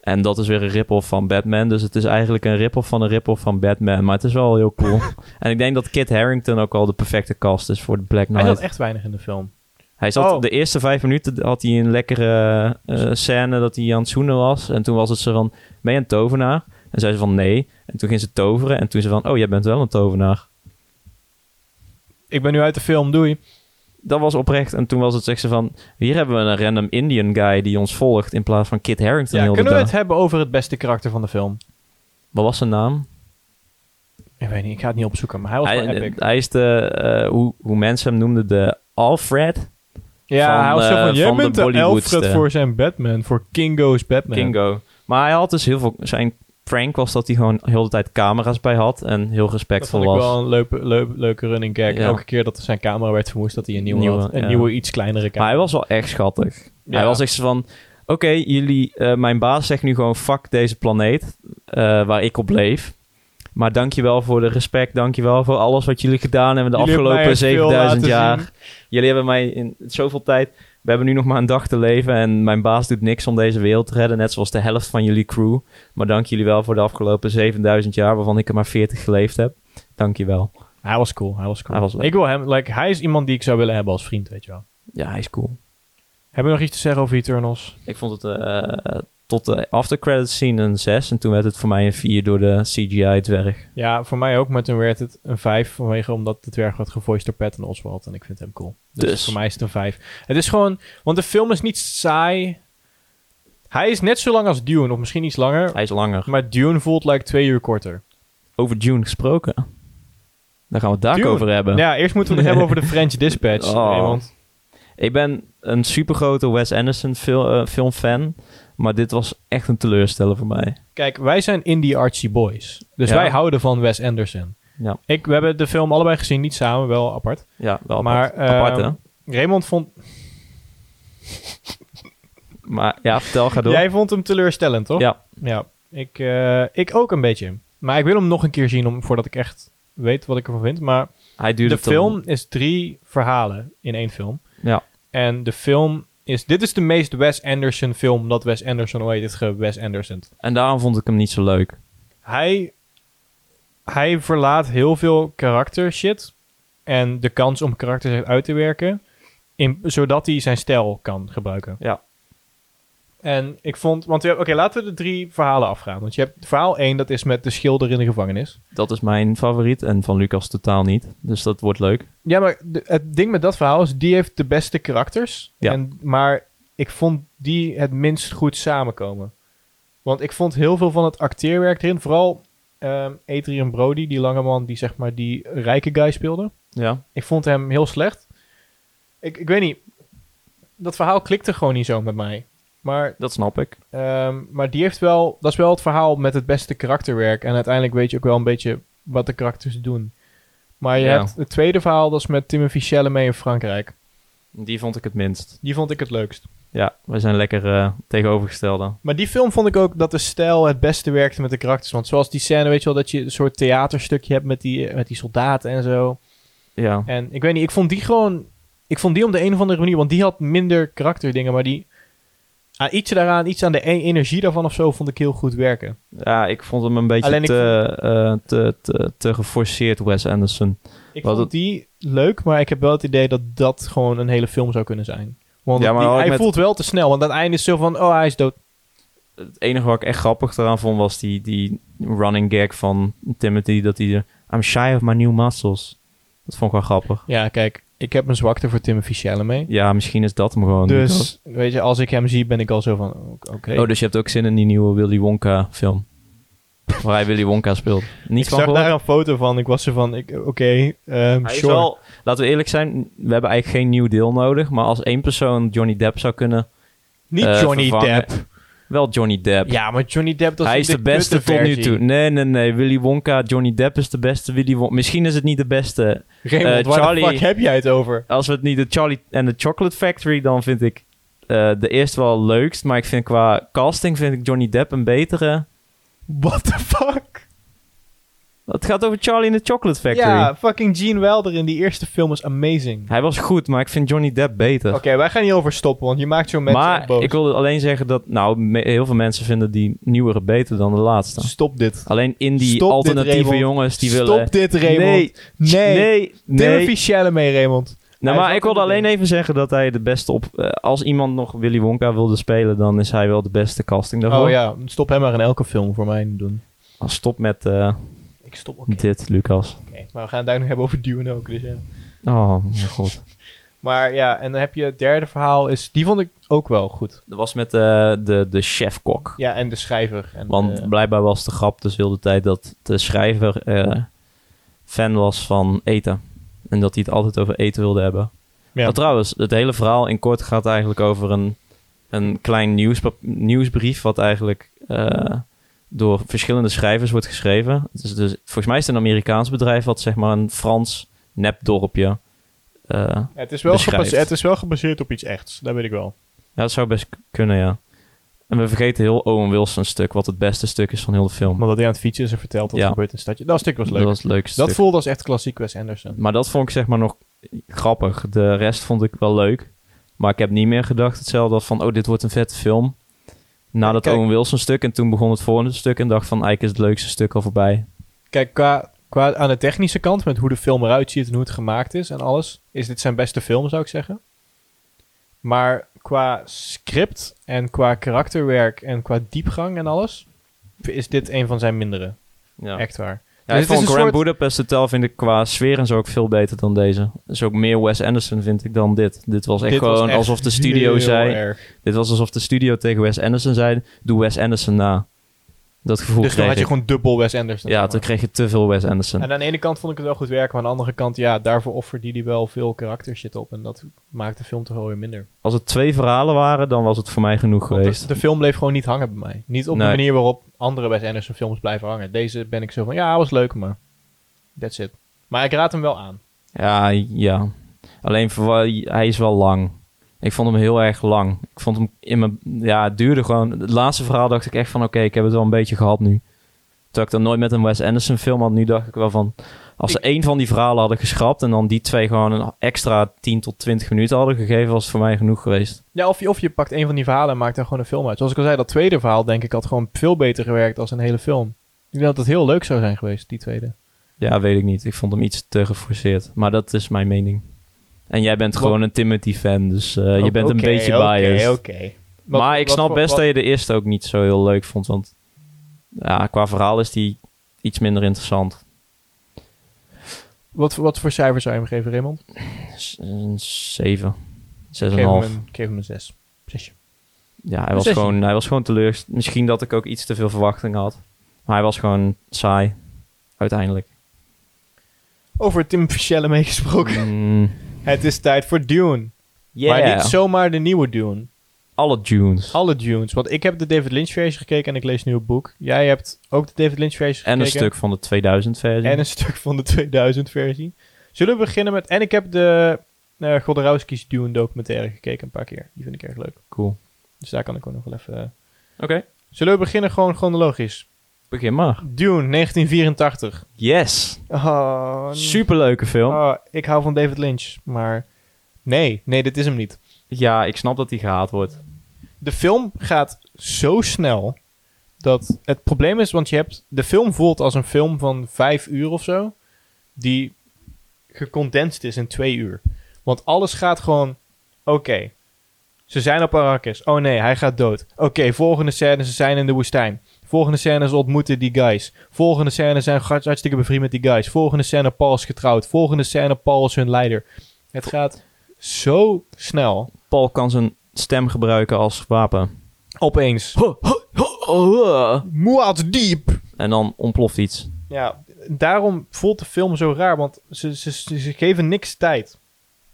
Speaker 2: En dat is weer een rip-off van Batman. Dus het is eigenlijk een rip-off van een rip-off van Batman. Maar het is wel heel cool. en ik denk dat Kit Harrington ook al de perfecte cast is voor de Black
Speaker 1: Hij
Speaker 2: Knight.
Speaker 1: zat echt weinig in de film.
Speaker 2: Hij zat
Speaker 1: Oh.
Speaker 2: de eerste vijf minuten had hij een lekkere eh, scène dat hij aan het zoenen was. En toen was het ze van, ben je een tovenaar? En zei ze van, nee. En toen ging ze toveren. En toen ze van, oh, jij bent wel een tovenaar.
Speaker 1: Ik ben nu uit de film, doei.
Speaker 2: Dat was oprecht. En toen was het, zegt ze van, hier hebben we een random Indian guy die ons volgt in plaats van Kit Harington
Speaker 1: Ja,
Speaker 2: heel de
Speaker 1: kunnen we
Speaker 2: dag.
Speaker 1: het hebben over het beste karakter van de film?
Speaker 2: Wat was zijn naam?
Speaker 1: Ik weet niet, ik ga het niet opzoeken, maar hij was wel
Speaker 2: Hij,
Speaker 1: epic.
Speaker 2: hij is de, eh, hoe, hoe mensen hem noemden, de Alfred
Speaker 1: ja,
Speaker 2: van,
Speaker 1: hij was zo
Speaker 2: eh,
Speaker 1: van, jij
Speaker 2: van de
Speaker 1: bent de
Speaker 2: Bollywoodste.
Speaker 1: Alfred voor zijn Batman, voor Kingo's Batman.
Speaker 2: Kingo. Maar hij had dus heel veel, zijn prank was dat hij gewoon heel de tijd camera's bij had en heel
Speaker 1: Dat
Speaker 2: respectvol
Speaker 1: vond ik
Speaker 2: was.
Speaker 1: wel een leuke, leuke, leuke running gag.
Speaker 2: Ja.
Speaker 1: Elke keer dat zijn camera werd verwoest, dat hij een nieuwe,
Speaker 2: Nieuwe,
Speaker 1: had. Een
Speaker 2: ja.
Speaker 1: nieuwe, iets kleinere
Speaker 2: Maar
Speaker 1: camera.
Speaker 2: hij was wel echt schattig.
Speaker 1: Ja.
Speaker 2: Hij was echt zo van... oké, jullie, eh, mijn baas zegt nu gewoon fuck deze planeet eh, waar ik op leef. Maar dankjewel voor de respect, dankjewel voor alles wat jullie gedaan hebben de
Speaker 1: Jullie hebben mij
Speaker 2: afgelopen
Speaker 1: echt veel
Speaker 2: 7000
Speaker 1: laten
Speaker 2: jaar.
Speaker 1: zien.
Speaker 2: Jullie hebben mij in zoveel tijd, we hebben nu nog maar een dag te leven en mijn baas doet niks om deze wereld te redden, net zoals de helft van jullie crew. Maar dank jullie wel voor de afgelopen 7000 jaar waarvan ik er maar 40 geleefd heb. Dankjewel.
Speaker 1: Hij was cool, hij was cool.
Speaker 2: Hij was leuk.
Speaker 1: ik wil hem, like, hij is iemand die ik zou willen hebben als vriend, weet je wel.
Speaker 2: Ja, hij is cool.
Speaker 1: Hebben we nog iets te zeggen over Eternals?
Speaker 2: Ik vond het eh, tot de aftercredit scene een 6. En toen werd het voor mij een 4 door de CGI-dwerg.
Speaker 1: Ja, voor mij ook, maar toen werd het een 5 vanwege omdat de dwerg werd gevoiced door Patton Oswald en ik vind hem cool. Dus,
Speaker 2: Dus.
Speaker 1: voor mij is het een 5. Het is gewoon, want de film is niet saai. Hij is net zo lang als Dune, of misschien iets langer,
Speaker 2: Hij is langer.
Speaker 1: maar Dune voelt like twee uur korter.
Speaker 2: Over Dune gesproken. Daar gaan we het daar ook
Speaker 1: Dune.
Speaker 2: over hebben.
Speaker 1: Ja, eerst moeten we het hebben over de French Dispatch.
Speaker 2: Oh.
Speaker 1: Raymond.
Speaker 2: Ik ben een supergrote Wes Anderson fil eh, filmfan. Maar dit was echt een teleursteller voor mij.
Speaker 1: Kijk, wij zijn indie artsy boys. Dus
Speaker 2: Ja.
Speaker 1: wij houden van Wes Anderson.
Speaker 2: Ja.
Speaker 1: Ik, we hebben de film allebei gezien, niet samen, wel apart.
Speaker 2: Ja, wel
Speaker 1: Maar,
Speaker 2: apart. apart
Speaker 1: ehm,
Speaker 2: hè?
Speaker 1: Raymond vond...
Speaker 2: Maar ja, vertel, ga door.
Speaker 1: Jij vond hem teleurstellend, toch?
Speaker 2: Ja.
Speaker 1: Ja. Ik, eh, ik ook een beetje. Maar ik wil hem nog een keer zien om, voordat ik echt weet wat ik ervan vind. Maar
Speaker 2: Hij duurde
Speaker 1: de film is drie verhalen in één film.
Speaker 2: Ja.
Speaker 1: En de film is... Dit is de meest Wes Anderson film dat Wes Anderson ooit heeft ge-Wes Anderson.
Speaker 2: En daarom vond ik hem niet zo leuk.
Speaker 1: Hij, hij verlaat heel veel karakter shit. En de kans om karakters uit te werken. In, zodat hij zijn stijl kan gebruiken.
Speaker 2: Ja.
Speaker 1: En ik vond, want je hebt- oké, laten we de drie verhalen afgaan. Want je hebt verhaal 1, dat is met de schilder in de gevangenis.
Speaker 2: Dat is mijn favoriet. En van Lucas totaal niet. Dus dat wordt leuk.
Speaker 1: Ja, maar de- het ding met dat verhaal is, die heeft de beste karakters.
Speaker 2: Ja.
Speaker 1: En, maar ik vond die het minst goed samenkomen. Want ik vond heel veel van het acteerwerk erin. Vooral ehm Adrian Brody, die lange man die zeg maar die rijke guy speelde.
Speaker 2: Ja.
Speaker 1: Ik vond hem heel slecht. Ik, ik weet niet, dat verhaal klikte gewoon niet zo met mij. Maar
Speaker 2: Dat snap ik.
Speaker 1: Ehm, maar die heeft wel, dat is wel het verhaal met het beste karakterwerk. En uiteindelijk weet je ook wel een beetje wat de karakters doen. Maar je
Speaker 2: Ja.
Speaker 1: hebt het tweede verhaal, dat is met Timothy Chalamet in Frankrijk.
Speaker 2: Die vond ik het minst.
Speaker 1: Die vond ik het leukst.
Speaker 2: Ja, we zijn lekker eh, tegenovergestelde.
Speaker 1: Maar die film vond ik ook dat de stijl het beste werkte met de karakters. Want zoals die scène, weet je wel, dat je een soort theaterstukje hebt met die, met die soldaten en zo.
Speaker 2: Ja.
Speaker 1: En ik weet niet, ik vond die gewoon... Ik vond die om de een of andere manier... Want die had minder karakterdingen, maar die... Aan iets daaraan, iets aan de e- energie daarvan of zo... vond ik heel goed werken.
Speaker 2: ja, ik vond hem een beetje
Speaker 1: Alleen ik
Speaker 2: te, eh, te, te, te geforceerd, Wes Anderson.
Speaker 1: Ik
Speaker 2: Wat
Speaker 1: vond die leuk, maar ik heb wel het idee dat dat gewoon een hele film zou kunnen zijn. Want
Speaker 2: Ja, maar
Speaker 1: die-
Speaker 2: ook
Speaker 1: hij
Speaker 2: met-
Speaker 1: voelt wel te snel, want aan het einde is zo van, oh hij is dood.
Speaker 2: Het enige wat ik echt grappig eraan vond was die, die running gag van Timothy. Dat hij er, I'm shy of my new muscles. Dat vond ik wel grappig.
Speaker 1: Ja, kijk, ik heb een zwakte voor Timothy Chalamet.
Speaker 2: Ja, misschien is dat hem gewoon.
Speaker 1: Dus, weet je, als ik hem zie ben ik al zo van, oh, oké.
Speaker 2: Oh, dus je hebt ook zin in die nieuwe Willy Wonka film. Waar hij Willy Wonka speelt.
Speaker 1: ik
Speaker 2: Niet van
Speaker 1: zag
Speaker 2: gehoord?
Speaker 1: daar een foto van, ik was er van, ik- oké, ehm,
Speaker 2: Hij is
Speaker 1: sure.
Speaker 2: wel- laten we eerlijk zijn, we hebben eigenlijk geen nieuw deel nodig. Maar als één persoon Johnny Depp zou kunnen,
Speaker 1: Niet
Speaker 2: eh,
Speaker 1: Johnny
Speaker 2: vervangen.
Speaker 1: Depp.
Speaker 2: wel Johnny Depp.
Speaker 1: Ja, maar Johnny Depp, dat
Speaker 2: hij is de beste tot
Speaker 1: versie.
Speaker 2: nu toe. Nee, nee, nee. Willy Wonka, Johnny Depp is de beste Willy Wonka. Misschien is het niet de beste.
Speaker 1: Raymond,
Speaker 2: Eh,
Speaker 1: waar
Speaker 2: Charlie-
Speaker 1: de fuck heb jij het over?
Speaker 2: Als we het niet de Charlie en de Chocolate Factory, dan vind ik eh, de eerste wel leukst. Maar ik vind qua casting vind ik Johnny Depp een betere.
Speaker 1: What the fuck?
Speaker 2: Het gaat over Charlie en de Chocolate Factory.
Speaker 1: Ja, fucking Gene Wilder in die eerste film is amazing.
Speaker 2: Hij was goed, maar ik vind Johnny Depp beter.
Speaker 1: Oké, wij gaan hier over stoppen, want je maakt zo'n mensen
Speaker 2: maar
Speaker 1: boos.
Speaker 2: ik wilde alleen zeggen dat nou, me- heel veel mensen vinden die nieuwere beter dan de laatste.
Speaker 1: Stop dit.
Speaker 2: Alleen in die
Speaker 1: Stop dit,
Speaker 2: alternatieve
Speaker 1: Raymond.
Speaker 2: jongens die
Speaker 1: Stop
Speaker 2: willen...
Speaker 1: dit, Raymond. Nee.
Speaker 2: Nee, nee, nee.
Speaker 1: Timothy Chalamet, Raymond.
Speaker 2: Nou,
Speaker 1: Hij
Speaker 2: maar
Speaker 1: is
Speaker 2: ik
Speaker 1: ook
Speaker 2: wilde
Speaker 1: een
Speaker 2: alleen
Speaker 1: ding.
Speaker 2: even zeggen dat hij de beste op... eh, als iemand nog Willy Wonka wilde spelen, dan is hij wel de beste casting daarvoor.
Speaker 1: Oh ja, stop hem maar in elke film voor mij doen.
Speaker 2: Ah, Stop met eh,
Speaker 1: Ik stop ook.
Speaker 2: dit, Lucas.
Speaker 1: Maar we gaan het daar nog hebben over Dune ook. Dus ja.
Speaker 2: Oh, mijn god.
Speaker 1: Maar ja, en dan heb je het derde verhaal. Is, die vond ik ook wel goed.
Speaker 2: Dat was met eh, de, de chef-kok.
Speaker 1: Ja, en de schrijver. En,
Speaker 2: Want
Speaker 1: eh,
Speaker 2: blijkbaar was de grap dus heel de tijd dat de schrijver eh, fan was van eten. En dat hij het altijd over eten wilde hebben.
Speaker 1: ja.
Speaker 2: Maar trouwens, het hele verhaal in kort gaat eigenlijk over een, een klein nieuwspap- nieuwsbrief... wat eigenlijk eh, door verschillende schrijvers wordt geschreven. Het is dus, volgens mij is het een Amerikaans bedrijf... wat zeg maar een Frans nepdorpje... eh
Speaker 1: het, is wel
Speaker 2: beschrijft.
Speaker 1: gebaseerd, het is wel gebaseerd op iets echts. Dat weet ik wel.
Speaker 2: ja, dat zou best k- kunnen, ja. En we vergeten heel Owen Wilson stuk, wat het beste stuk is van heel de film.
Speaker 1: Omdat hij aan het fietsen is en vertelt wat er
Speaker 2: Ja.
Speaker 1: gebeurt in het stadje. Dat stuk was leuk.
Speaker 2: Dat
Speaker 1: Dat,
Speaker 2: was het leukste stuk.
Speaker 1: voelde als echt klassiek Wes Anderson.
Speaker 2: Maar dat vond ik zeg maar nog grappig. De rest vond ik wel leuk. Maar ik heb niet meer gedacht hetzelfde als van... oh, dit wordt een vette film. Na dat
Speaker 1: Kijk.
Speaker 2: Owen Wilson stuk. En toen begon het volgende stuk. En dacht van, eigenlijk is het leukste stuk al voorbij.
Speaker 1: Kijk, qua, qua aan de technische kant, met hoe de film eruit ziet en hoe het gemaakt is en alles, is dit zijn beste film, zou ik zeggen. Maar qua script en qua karakterwerk en qua diepgang en alles, is dit een van zijn mindere.
Speaker 2: Ja.
Speaker 1: Echt waar.
Speaker 2: Ja,
Speaker 1: Dus het
Speaker 2: ik
Speaker 1: is
Speaker 2: vond
Speaker 1: een
Speaker 2: Grand
Speaker 1: soort-
Speaker 2: Budapest Hotel vind ik qua sfeer en zo ook veel beter dan deze. Dus ook meer Wes Anderson vind ik dan dit. Dit was echt
Speaker 1: Dit was
Speaker 2: gewoon
Speaker 1: echt
Speaker 2: alsof de studio
Speaker 1: heel
Speaker 2: zei...
Speaker 1: erg.
Speaker 2: Dit was alsof de studio tegen Wes Anderson zei... Doe Wes Anderson na. Dat gevoel
Speaker 1: Dus dan
Speaker 2: kreeg
Speaker 1: had je
Speaker 2: ik.
Speaker 1: gewoon dubbel Wes Anderson. zeg
Speaker 2: Ja,
Speaker 1: maar.
Speaker 2: toen kreeg je te veel Wes Anderson.
Speaker 1: En aan de ene kant vond ik het wel goed werken, maar aan de andere kant, ja, daarvoor offerde hij wel veel karaktershit op. En dat maakt de film toch wel weer minder.
Speaker 2: Als het twee verhalen waren, dan was het voor mij genoeg
Speaker 1: Want
Speaker 2: geweest.
Speaker 1: de, de film bleef gewoon niet hangen bij mij. Niet op
Speaker 2: Nee.
Speaker 1: de manier waarop andere Wes Anderson films blijven hangen. Deze ben ik zo van, ja, was leuk, maar that's it. Maar ik raad hem wel aan.
Speaker 2: Ja, ja. Alleen voor- hij is wel lang. Ik vond hem heel erg lang. Ik vond hem in mijn. Ja, het duurde gewoon. Het laatste verhaal dacht ik echt van: oké, ik heb het wel een beetje gehad nu. Toen ik dan nooit met een Wes Anderson film had, nu dacht ik wel van. Als ze één van die verhalen hadden geschrapt en dan die twee gewoon een extra 10 tot 20 minuten hadden gegeven, was het voor mij genoeg geweest.
Speaker 1: Ja, of je, of je pakt een van die verhalen en maakt daar gewoon een film uit. Zoals ik al zei, dat tweede verhaal, denk ik, had gewoon veel beter gewerkt als een hele film. Ik denk dat het heel leuk zou zijn geweest, die tweede.
Speaker 2: Ja, weet ik niet. Ik vond hem iets te geforceerd. Maar dat is mijn mening. En jij bent
Speaker 1: Wat-
Speaker 2: gewoon een Timothy-fan, dus eh, je bent een
Speaker 1: Oké,
Speaker 2: beetje
Speaker 1: oké,
Speaker 2: biased.
Speaker 1: oké. Wat-
Speaker 2: maar ik
Speaker 1: wat-
Speaker 2: snap
Speaker 1: wat-
Speaker 2: best
Speaker 1: wat-
Speaker 2: dat je de eerste ook niet zo heel leuk vond. Want ja, qua verhaal is die iets minder interessant.
Speaker 1: Wat, wat voor cijfer zou je hem geven, Raymond?
Speaker 2: S- Een 7, 6,5.
Speaker 1: Ik geef hem een- ik geef hem een zes. Zesje.
Speaker 2: Ja, hij
Speaker 1: een
Speaker 2: was,
Speaker 1: zesje.
Speaker 2: gewoon, hij was gewoon teleurgesteld. Misschien dat ik ook iets te veel verwachtingen had. Maar hij was gewoon saai. Uiteindelijk.
Speaker 1: Over Tim Fischelle meegesproken.
Speaker 2: Mm,
Speaker 1: Het is tijd voor Dune. Maar
Speaker 2: yeah.
Speaker 1: niet zomaar de nieuwe Dune.
Speaker 2: Alle tunes.
Speaker 1: Alle Dunes. Want ik heb de David Lynch versie gekeken en ik lees nu het boek. Jij hebt ook de David Lynch versie
Speaker 2: En
Speaker 1: gekeken.
Speaker 2: een stuk van de 2000 versie.
Speaker 1: En een stuk van de 2000 versie. Zullen we beginnen met... En ik heb de eh Godorowski's Dune documentaire gekeken een paar keer. Die vind ik erg leuk.
Speaker 2: Cool.
Speaker 1: Dus daar kan ik ook nog wel even...
Speaker 2: Oké,
Speaker 1: Zullen we beginnen gewoon chronologisch?
Speaker 2: begin maar.
Speaker 1: Dune, 1984.
Speaker 2: Yes.
Speaker 1: Oh, nee.
Speaker 2: Superleuke film.
Speaker 1: Oh, ik hou van David Lynch, maar... Nee, nee, dit is hem niet.
Speaker 2: Ja, ik snap dat die gehaald wordt.
Speaker 1: de film gaat zo snel dat het probleem is, want je hebt de film voelt als een film van vijf uur of zo, die gecondenseerd is in twee uur. Want alles gaat gewoon, oké, ze zijn op Arrakis. Oh nee, hij gaat dood. Oké, volgende scène, ze zijn in de woestijn. Volgende scène, ze ontmoeten die guys. Volgende scène, zijn ze hart- hartstikke bevriend met die guys. Volgende scène, Paul is getrouwd. Volgende scène, Paul is hun leider. Het gaat zo snel.
Speaker 2: Paul kan zijn stem gebruiken als wapen.
Speaker 1: Opeens. Moed diep.
Speaker 2: En dan ontploft iets.
Speaker 1: Ja, daarom voelt de film zo raar, want ze, ze, ze, ze geven niks tijd.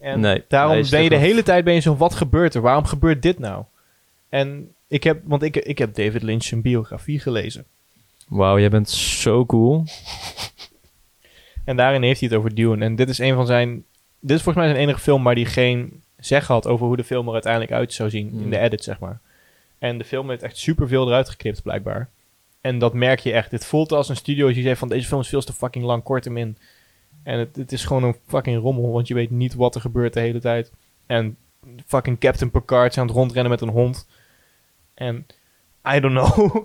Speaker 1: En
Speaker 2: Nee, hij
Speaker 1: daarom
Speaker 2: is
Speaker 1: ben je
Speaker 2: te
Speaker 1: de
Speaker 2: groot.
Speaker 1: hele tijd ben je zo, wat gebeurt er? Waarom gebeurt dit nou? En ik heb, want ik, ik heb David Lynch zijn biografie gelezen.
Speaker 2: Wauw, jij bent zo cool.
Speaker 1: En daarin heeft hij het over Dune. En dit is een van zijn, dit is volgens mij zijn enige film waar hij geen zeg had over hoe de film er uiteindelijk uit zou zien in
Speaker 2: Hmm.
Speaker 1: de edit, zeg maar. En de film heeft echt superveel eruit geknipt, blijkbaar. En dat merk je echt. Dit voelt als een studio die zei van deze film is veel te fucking lang, kort hem in. En het, het is gewoon een fucking rommel, want je weet niet wat er gebeurt de hele tijd. En fucking Captain Picard is aan het rondrennen met een hond. En I don't know.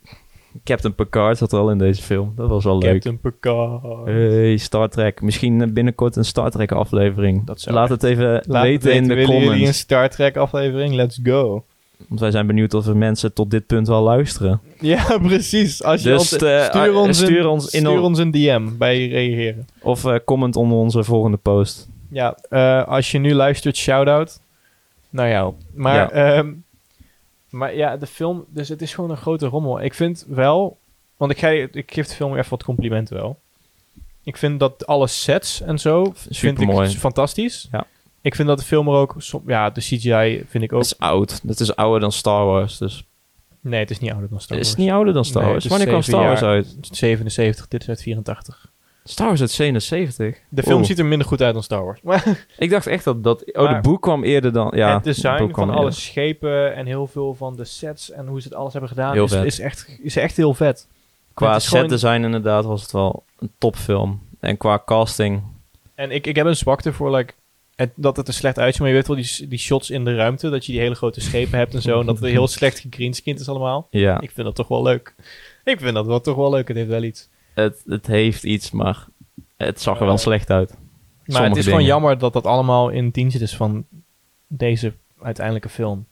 Speaker 2: Captain Picard zat er al in deze film. Dat was wel leuk. Eh,
Speaker 1: Captain Picard.
Speaker 2: Hey, Star Trek. Misschien eh, binnenkort een Star Trek aflevering.
Speaker 1: Dat zou
Speaker 2: Laat het even
Speaker 1: Laat het
Speaker 2: weten in de
Speaker 1: willen jullie een
Speaker 2: comments.
Speaker 1: Star Trek aflevering? Let's go.
Speaker 2: Want wij zijn benieuwd of er mensen tot dit punt wel luisteren.
Speaker 1: Ja, precies. Als je
Speaker 2: Dus,
Speaker 1: ons,
Speaker 2: eh,
Speaker 1: ah, stuur,
Speaker 2: eh,
Speaker 1: ons
Speaker 2: stuur
Speaker 1: een,
Speaker 2: ons in
Speaker 1: stuur
Speaker 2: on-
Speaker 1: ons een DM bij reageren.
Speaker 2: Of eh, comment onder onze volgende post.
Speaker 1: Ja, eh, als je nu luistert, shout-out naar jou. Maar
Speaker 2: Ja.
Speaker 1: ja. maar ja, de film... Dus het is gewoon een grote rommel. Ik vind wel... Want ik, ga, je- ik geef de film even wat complimenten wel. Ik vind dat alle sets en zo... vind ik
Speaker 2: supermooi.
Speaker 1: fantastisch.
Speaker 2: Ja.
Speaker 1: Ik vind dat de film er ook... som- Ja, de CGI vind ik ook...
Speaker 2: Dat is oud. Dat is ouder dan Star Wars. Dus
Speaker 1: Nee, het is niet ouder dan Star
Speaker 2: is
Speaker 1: Wars.
Speaker 2: het niet ouder dan Star
Speaker 1: Nee,
Speaker 2: Wars?
Speaker 1: het is
Speaker 2: Wanneer kwam Star
Speaker 1: zeven
Speaker 2: Wars uit?
Speaker 1: 77, dit is uit 84.
Speaker 2: Star Wars uit 77.
Speaker 1: De film
Speaker 2: Oeh.
Speaker 1: ziet er minder goed uit dan Star Wars. Maar
Speaker 2: Ik dacht echt dat dat... Oh,
Speaker 1: Maar-
Speaker 2: de boek kwam eerder dan... Ja,
Speaker 1: het
Speaker 2: de
Speaker 1: design
Speaker 2: boek kwam
Speaker 1: van alle
Speaker 2: eerder.
Speaker 1: schepen en heel veel van de sets en hoe ze het alles hebben gedaan
Speaker 2: Heel
Speaker 1: is,
Speaker 2: vet.
Speaker 1: is, echt, is echt heel vet.
Speaker 2: Qua
Speaker 1: Het is gewoon-
Speaker 2: set design inderdaad was het wel een topfilm. En qua casting...
Speaker 1: En ik, ik heb een zwakte voor like, het- dat het er slecht uitziet. Maar je weet wel, die, die shots in de ruimte, dat je die hele grote schepen hebt en zo. En dat het heel slecht gegreenscreend is allemaal.
Speaker 2: Ja,
Speaker 1: Ik vind dat toch wel leuk. Ik vind dat wel toch wel leuk. Het heeft wel iets.
Speaker 2: het, het heeft iets, maar het zag er wel
Speaker 1: Eh,
Speaker 2: slecht uit.
Speaker 1: Maar
Speaker 2: Sommige
Speaker 1: het is gewoon
Speaker 2: dingen.
Speaker 1: jammer dat dat allemaal in dienst is van deze uiteindelijke film.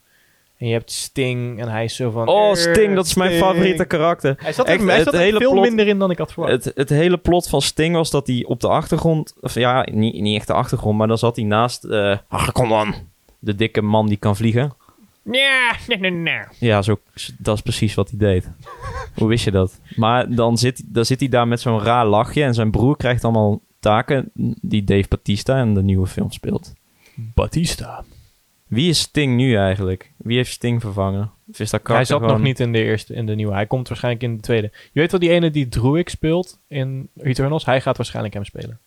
Speaker 1: En je hebt Sting en hij is zo van...
Speaker 2: Oh,
Speaker 1: "Eh,
Speaker 2: Sting, dat is mijn
Speaker 1: Sting."
Speaker 2: favoriete karakter.
Speaker 1: Hij zat er,
Speaker 2: Echt,
Speaker 1: hij
Speaker 2: het
Speaker 1: zat er
Speaker 2: hele
Speaker 1: veel
Speaker 2: plot-
Speaker 1: minder in dan ik had verwacht.
Speaker 2: Het, het hele plot van Sting was dat hij op de achtergrond... Of ja, niet, niet echt de achtergrond, maar dan zat hij naast... eh, ach, kom dan. De dikke man die kan vliegen.
Speaker 1: Ja, nee, nee, nee.
Speaker 2: Ja, zo, dat is precies wat hij deed. Hoe wist je dat? Maar dan zit, dan zit hij daar met zo'n raar lachje... en zijn broer krijgt allemaal taken die Dave Batista in de nieuwe film speelt.
Speaker 1: Batista.
Speaker 2: Wie is Sting nu eigenlijk? Wie heeft Sting vervangen? Of is dat
Speaker 1: Hij
Speaker 2: karakter
Speaker 1: zat nog
Speaker 2: gewoon-
Speaker 1: niet in de eerste, in de nieuwe. Hij komt waarschijnlijk in de tweede. Je weet wel, die ene die Druig speelt in Eternals, hij gaat waarschijnlijk hem spelen.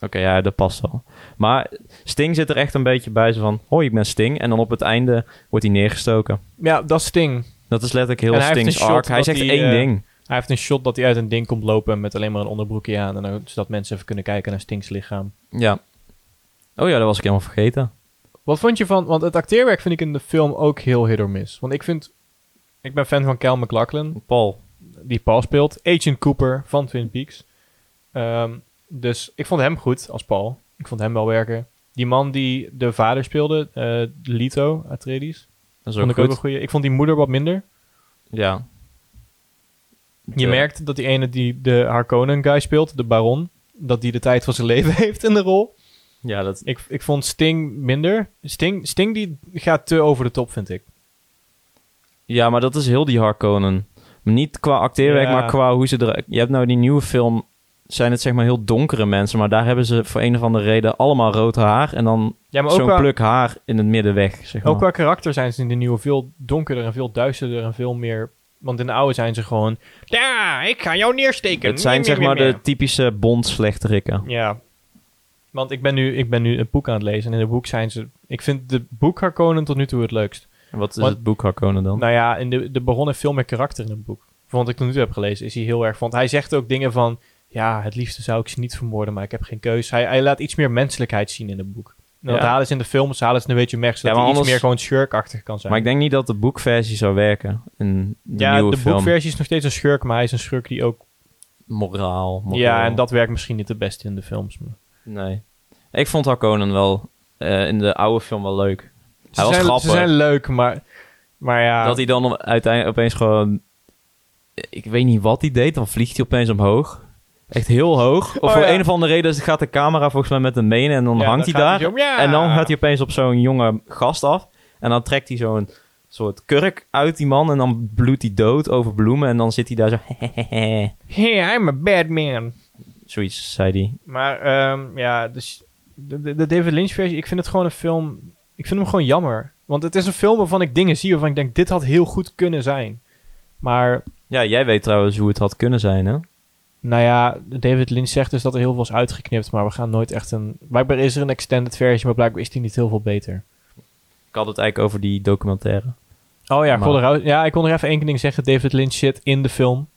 Speaker 2: Oké, ja, dat past wel. Maar Sting zit er echt een beetje bij. Zo van, hoi, ik ben Sting. En dan op het einde wordt hij neergestoken.
Speaker 1: Ja, dat is Sting.
Speaker 2: Dat is letterlijk heel
Speaker 1: En hij heeft
Speaker 2: Sting's
Speaker 1: een shot
Speaker 2: arc. Hij
Speaker 1: dat
Speaker 2: zegt
Speaker 1: hij,
Speaker 2: één
Speaker 1: eh,
Speaker 2: ding.
Speaker 1: Hij heeft een shot dat hij uit een ding komt lopen met alleen maar een onderbroekje aan. En dan, zodat mensen even kunnen kijken naar Stings lichaam.
Speaker 2: Ja. Oh ja, dat was ik helemaal vergeten.
Speaker 1: Wat vond je van... Want het acteerwerk vind ik in de film ook heel hit or miss. Want ik vind... Ik ben fan van Cal McLachlan.
Speaker 2: Paul.
Speaker 1: die Paul speelt. Agent Cooper van Twin Peaks. Ehm, dus ik vond hem goed als Paul. Ik vond hem wel werken. Die man die de vader speelde, eh, Lito Atreides,
Speaker 2: Dat is
Speaker 1: vond ik
Speaker 2: ook
Speaker 1: ook
Speaker 2: goed.
Speaker 1: een goede. Ik vond die moeder wat minder.
Speaker 2: Ja.
Speaker 1: Je
Speaker 2: Ja.
Speaker 1: merkt dat die ene die de Harkonnen guy speelt, de baron, dat die de tijd van zijn leven heeft in de rol.
Speaker 2: Ja, dat...
Speaker 1: Ik, ik vond Sting minder. Sting, Sting die gaat te over de top, vind ik.
Speaker 2: ja, maar dat is heel die Harkonnen. Niet qua acteerwerk,
Speaker 1: Ja.
Speaker 2: maar qua hoe ze er... Je hebt nou die nieuwe film... Zijn het zeg maar heel donkere mensen. Maar daar hebben ze voor een of andere reden allemaal rood haar. En dan
Speaker 1: Ja, maar ook
Speaker 2: zo'n
Speaker 1: qua,
Speaker 2: pluk haar in het midden weg, zeg maar.
Speaker 1: Ook qua karakter zijn ze in de nieuwe veel donkerder en veel duisterder en veel meer... Want in de oude zijn ze gewoon... Ja, ik ga jou neersteken.
Speaker 2: Het zijn
Speaker 1: Mie,
Speaker 2: zeg
Speaker 1: mie,
Speaker 2: maar
Speaker 1: mie,
Speaker 2: de typische bondslechterikken.
Speaker 1: mie. Ja. Want ik ben, nu, ik ben nu een boek aan het lezen en in het boek zijn ze... Ik vind de boekharkonen tot nu toe het leukst.
Speaker 2: Wat is
Speaker 1: Wat-
Speaker 2: het boek Harkonnen dan?
Speaker 1: Nou ja, in de, de Baron heeft veel meer karakter in het boek. Van wat ik tot nu toe heb gelezen is hij heel erg... Want hij zegt ook dingen van... Ja, het liefste zou ik ze niet vermoorden, maar ik heb geen keus. Hij, hij laat iets meer menselijkheid zien in het boek. En Dat
Speaker 2: Ja.
Speaker 1: halen ze in de films, halen ze een beetje weg, zodat
Speaker 2: Ja, maar
Speaker 1: hij iets
Speaker 2: anders-
Speaker 1: meer gewoon shirkachtig kan zijn.
Speaker 2: maar ik denk niet dat de boekversie zou werken in de
Speaker 1: Ja,
Speaker 2: nieuwe
Speaker 1: de
Speaker 2: film.
Speaker 1: boekversie is nog steeds een schurk, maar hij is een schurk die ook...
Speaker 2: Moraal, moraal.
Speaker 1: Ja, en dat werkt misschien niet het beste in de films. maar-
Speaker 2: Nee. Ik vond Harkonnen wel eh, in de oude film wel leuk.
Speaker 1: Ze,
Speaker 2: was
Speaker 1: zijn,
Speaker 2: grappig.
Speaker 1: ze zijn leuk, maar, maar ja...
Speaker 2: Dat hij dan om- uiteindelijk opeens gewoon... Ik weet niet wat hij deed, dan vliegt hij opeens omhoog. Echt heel hoog. Of
Speaker 1: Oh,
Speaker 2: voor
Speaker 1: ja.
Speaker 2: een of andere reden gaat de camera volgens mij met hem mee en dan
Speaker 1: ja,
Speaker 2: hangt hij
Speaker 1: gaat
Speaker 2: daar.
Speaker 1: zo, ja.
Speaker 2: En dan gaat hij opeens op zo'n jonge gast af. En dan trekt hij zo'n soort kurk uit die man. En dan bloedt hij dood over bloemen. En dan zit hij daar zo...
Speaker 1: Hey, I'm a bad man.
Speaker 2: Zoiets, zei hij.
Speaker 1: Maar ehm, ja, dus de, de- de David Lynch versie, ik vind het gewoon een film... Ik vind hem gewoon jammer. Want het is een film waarvan ik dingen zie waarvan ik denk, dit had heel goed kunnen zijn. Maar,
Speaker 2: Ja, jij weet trouwens hoe het had kunnen zijn, hè?
Speaker 1: nou ja, David Lynch zegt dus dat er heel veel is uitgeknipt, maar we gaan nooit echt een... Blijkbaar is er een extended versie, maar blijkbaar is die niet heel veel beter.
Speaker 2: Ik had het eigenlijk over die documentaire.
Speaker 1: Oh ja, ik
Speaker 2: Maar-
Speaker 1: kon er, ja, ik kon er even één ding zeggen. David Lynch zit in de film.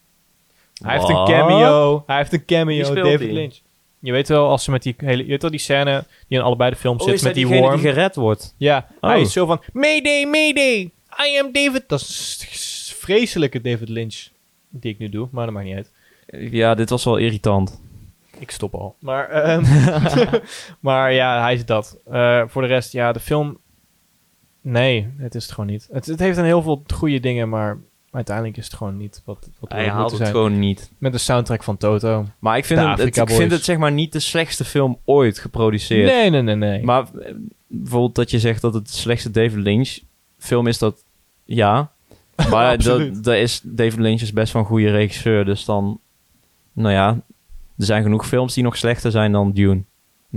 Speaker 1: Hij heeft
Speaker 2: Wat?
Speaker 1: een cameo. Hij heeft een cameo,
Speaker 2: Wie speelt
Speaker 1: David
Speaker 2: die?
Speaker 1: Lynch. Je weet wel, als ze met die hele... Je weet wel die scène die in allebei de
Speaker 2: Oh,
Speaker 1: film zit met die worm.
Speaker 2: die gered wordt?
Speaker 1: ja,
Speaker 2: Oh.
Speaker 1: hij is zo van... Mayday, mayday! I am David! Dat is een vreselijke David Lynch die ik nu doe, maar dat maakt niet uit.
Speaker 2: Ja, dit was wel irritant.
Speaker 1: Ik stop al. Maar, ehm, maar ja, hij is dat. Eh, voor de rest, ja, de film... Nee, het is het gewoon niet. Het, het heeft een heel veel goede dingen, maar uiteindelijk is het gewoon niet wat, wat we
Speaker 2: Hij haalt het
Speaker 1: zijn.
Speaker 2: gewoon niet.
Speaker 1: Met de soundtrack van Toto.
Speaker 2: Maar ik vind,
Speaker 1: De
Speaker 2: het, het-
Speaker 1: Afrika
Speaker 2: ik vind
Speaker 1: Boys.
Speaker 2: het zeg maar niet de slechtste film ooit geproduceerd.
Speaker 1: Nee, nee, nee, nee.
Speaker 2: Maar eh, bijvoorbeeld dat je zegt dat het de slechtste David Lynch film is, dat ja. Maar
Speaker 1: Absoluut.
Speaker 2: dat, dat is, David Lynch is best wel een goede regisseur. Dus dan, nou ja, er zijn genoeg films die nog slechter zijn dan Dune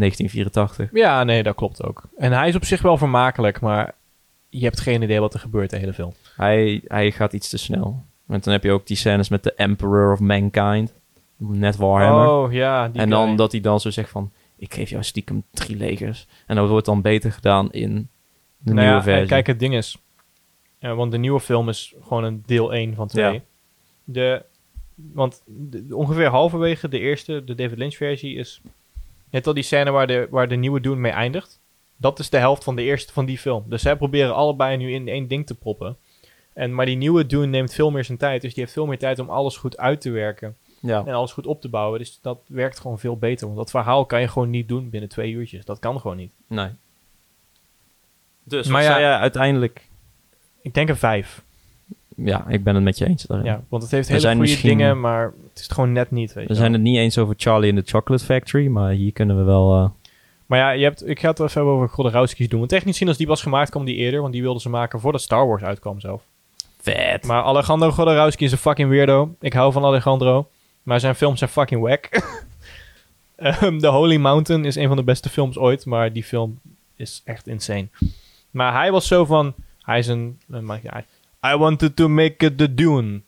Speaker 2: 1984.
Speaker 1: Ja, nee, dat klopt ook. En hij is op zich wel vermakelijk, maar je hebt geen idee wat er gebeurt de hele film.
Speaker 2: Hij, hij gaat iets te snel. Want dan heb je ook die scènes met de Emperor of Mankind. net Warhammer.
Speaker 1: Oh ja, die
Speaker 2: en dan
Speaker 1: guy.
Speaker 2: dat hij dan zo zegt van, ik geef jou stiekem drie legers. En dat wordt dan beter gedaan in de
Speaker 1: nou
Speaker 2: nieuwe
Speaker 1: ja,
Speaker 2: versie.
Speaker 1: En kijk, het ding is... eh, want de nieuwe film is gewoon een deel 1 van 2.
Speaker 2: Ja.
Speaker 1: De, want de- ongeveer halverwege de eerste, de David Lynch versie, is... Net al die scène waar de, waar de nieuwe Doen mee eindigt. Dat is de helft van de eerste van die film. Dus zij proberen allebei nu in één ding te proppen. En, maar die nieuwe Dune neemt veel meer zijn tijd. Dus die heeft veel meer tijd om alles goed uit te werken.
Speaker 2: ja.
Speaker 1: En alles goed op te bouwen. Dus dat werkt gewoon veel beter. Want dat verhaal kan je gewoon niet doen binnen twee uurtjes. Dat kan gewoon niet.
Speaker 2: Nee. Dus
Speaker 1: Maar
Speaker 2: maar
Speaker 1: ja-
Speaker 2: ja, uiteindelijk...
Speaker 1: Ik denk een vijf.
Speaker 2: Ja, ik ben het met je eens daarin.
Speaker 1: Ja, want het heeft
Speaker 2: We
Speaker 1: hele
Speaker 2: zijn
Speaker 1: goede
Speaker 2: misschien-
Speaker 1: dingen, maar het is het gewoon net niet. Weet je
Speaker 2: We zijn
Speaker 1: wel.
Speaker 2: het niet eens over Charlie in the Chocolate Factory, maar hier kunnen we wel... eh,
Speaker 1: Maar ja, je hebt, ik ga het wel even hebben over Grodorowski's doen. Want technisch gezien, als die was gemaakt, kwam die eerder. Want die wilden ze maken voordat Star Wars uitkwam zelf.
Speaker 2: vet.
Speaker 1: Maar Alejandro Grodorowski is een fucking weirdo. Ik hou van Alejandro. Maar zijn films zijn fucking whack. Ehm, The Holy Mountain is een van de beste films ooit. Maar die film is echt insane. Maar hij was zo van... Hij is een... een man- ja, I wanted to make it the Dune.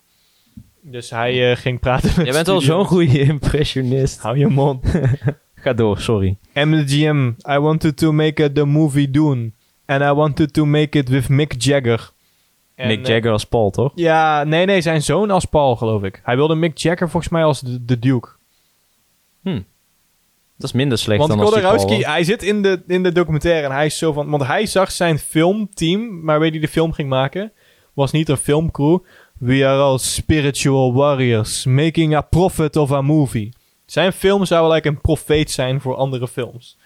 Speaker 1: Dus hij eh, ging praten met
Speaker 2: Je bent al
Speaker 1: studio.
Speaker 2: zo'n goede impressionist.
Speaker 1: Hou je mond.
Speaker 2: Ga door, sorry.
Speaker 1: MGM, I wanted to make it the movie Dune. And I wanted to make it with Mick Jagger. En,
Speaker 2: Mick
Speaker 1: eh,
Speaker 2: Jagger als Paul, toch?
Speaker 1: Ja, nee, nee, zijn zoon als Paul, geloof ik. Hij wilde Mick Jagger volgens mij als de, de Duke.
Speaker 2: Dat is minder slecht
Speaker 1: Want
Speaker 2: dan als die Paul.
Speaker 1: Kodorowski, hij zit in de, in de documentaire en hij is zo van... Want hij zag zijn filmteam, maar weet hij de film ging maken? Was niet een filmcrew. We are all spiritual warriors, making a profit of a movie. Zijn film zou wel like een profeet zijn voor andere films.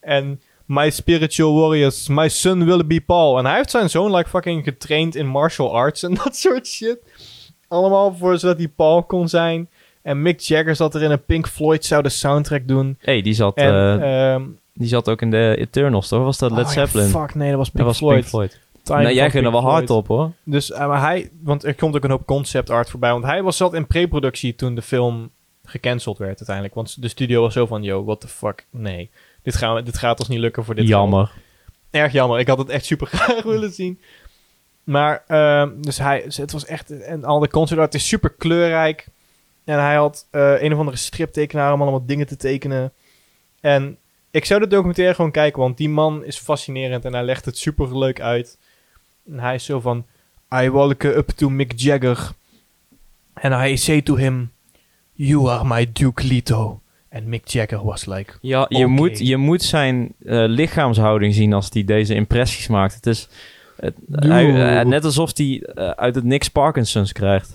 Speaker 1: En my spiritual warriors, my son will be Paul. En hij heeft zijn zoon like fucking getraind in martial arts en dat soort shit. Allemaal voor zodat hij Paul kon zijn. En Mick Jagger zat er in een Pink Floyd zou de soundtrack doen.
Speaker 2: hey, die zat,
Speaker 1: En,
Speaker 2: eh,
Speaker 1: ehm,
Speaker 2: die zat ook in de Eternals, toch? Was dat Led
Speaker 1: oh ja,
Speaker 2: Zeppelin?
Speaker 1: fuck, nee, dat was Pink
Speaker 2: dat was
Speaker 1: Floyd.
Speaker 2: Pink Floyd.
Speaker 1: Time
Speaker 2: nee, jij
Speaker 1: van
Speaker 2: ging er
Speaker 1: Pink
Speaker 2: wel hard
Speaker 1: Floyd.
Speaker 2: op, hoor.
Speaker 1: Dus eh, maar hij, want er komt ook een hoop concept art voorbij. Want hij was zat in pre-productie toen de film gecanceld werd uiteindelijk. Want de studio was zo van, yo, what the fuck, nee. Dit, gaan we, dit gaat ons niet lukken voor dit geld.
Speaker 2: Jammer.
Speaker 1: Erg jammer, ik had het echt super graag willen zien. Maar, ehm, dus hij, het was echt, en al de concept art is super kleurrijk. En hij had eh, een of andere striptekenaar om allemaal dingen te tekenen. En ik zou de documentaire gewoon kijken, want die man is fascinerend en hij legt het super leuk uit. En hij is zo van, I walk up to Mick Jagger. And I say to him, you are my Duke Leto. En Mick Jagger was like,
Speaker 2: Ja, je,
Speaker 1: Oké.
Speaker 2: moet, je moet zijn eh, lichaamshouding zien als hij deze impressies maakt. Het is het- hij-
Speaker 1: Doe.
Speaker 2: eh, net alsof hij eh, uit het niks Parkinson's krijgt.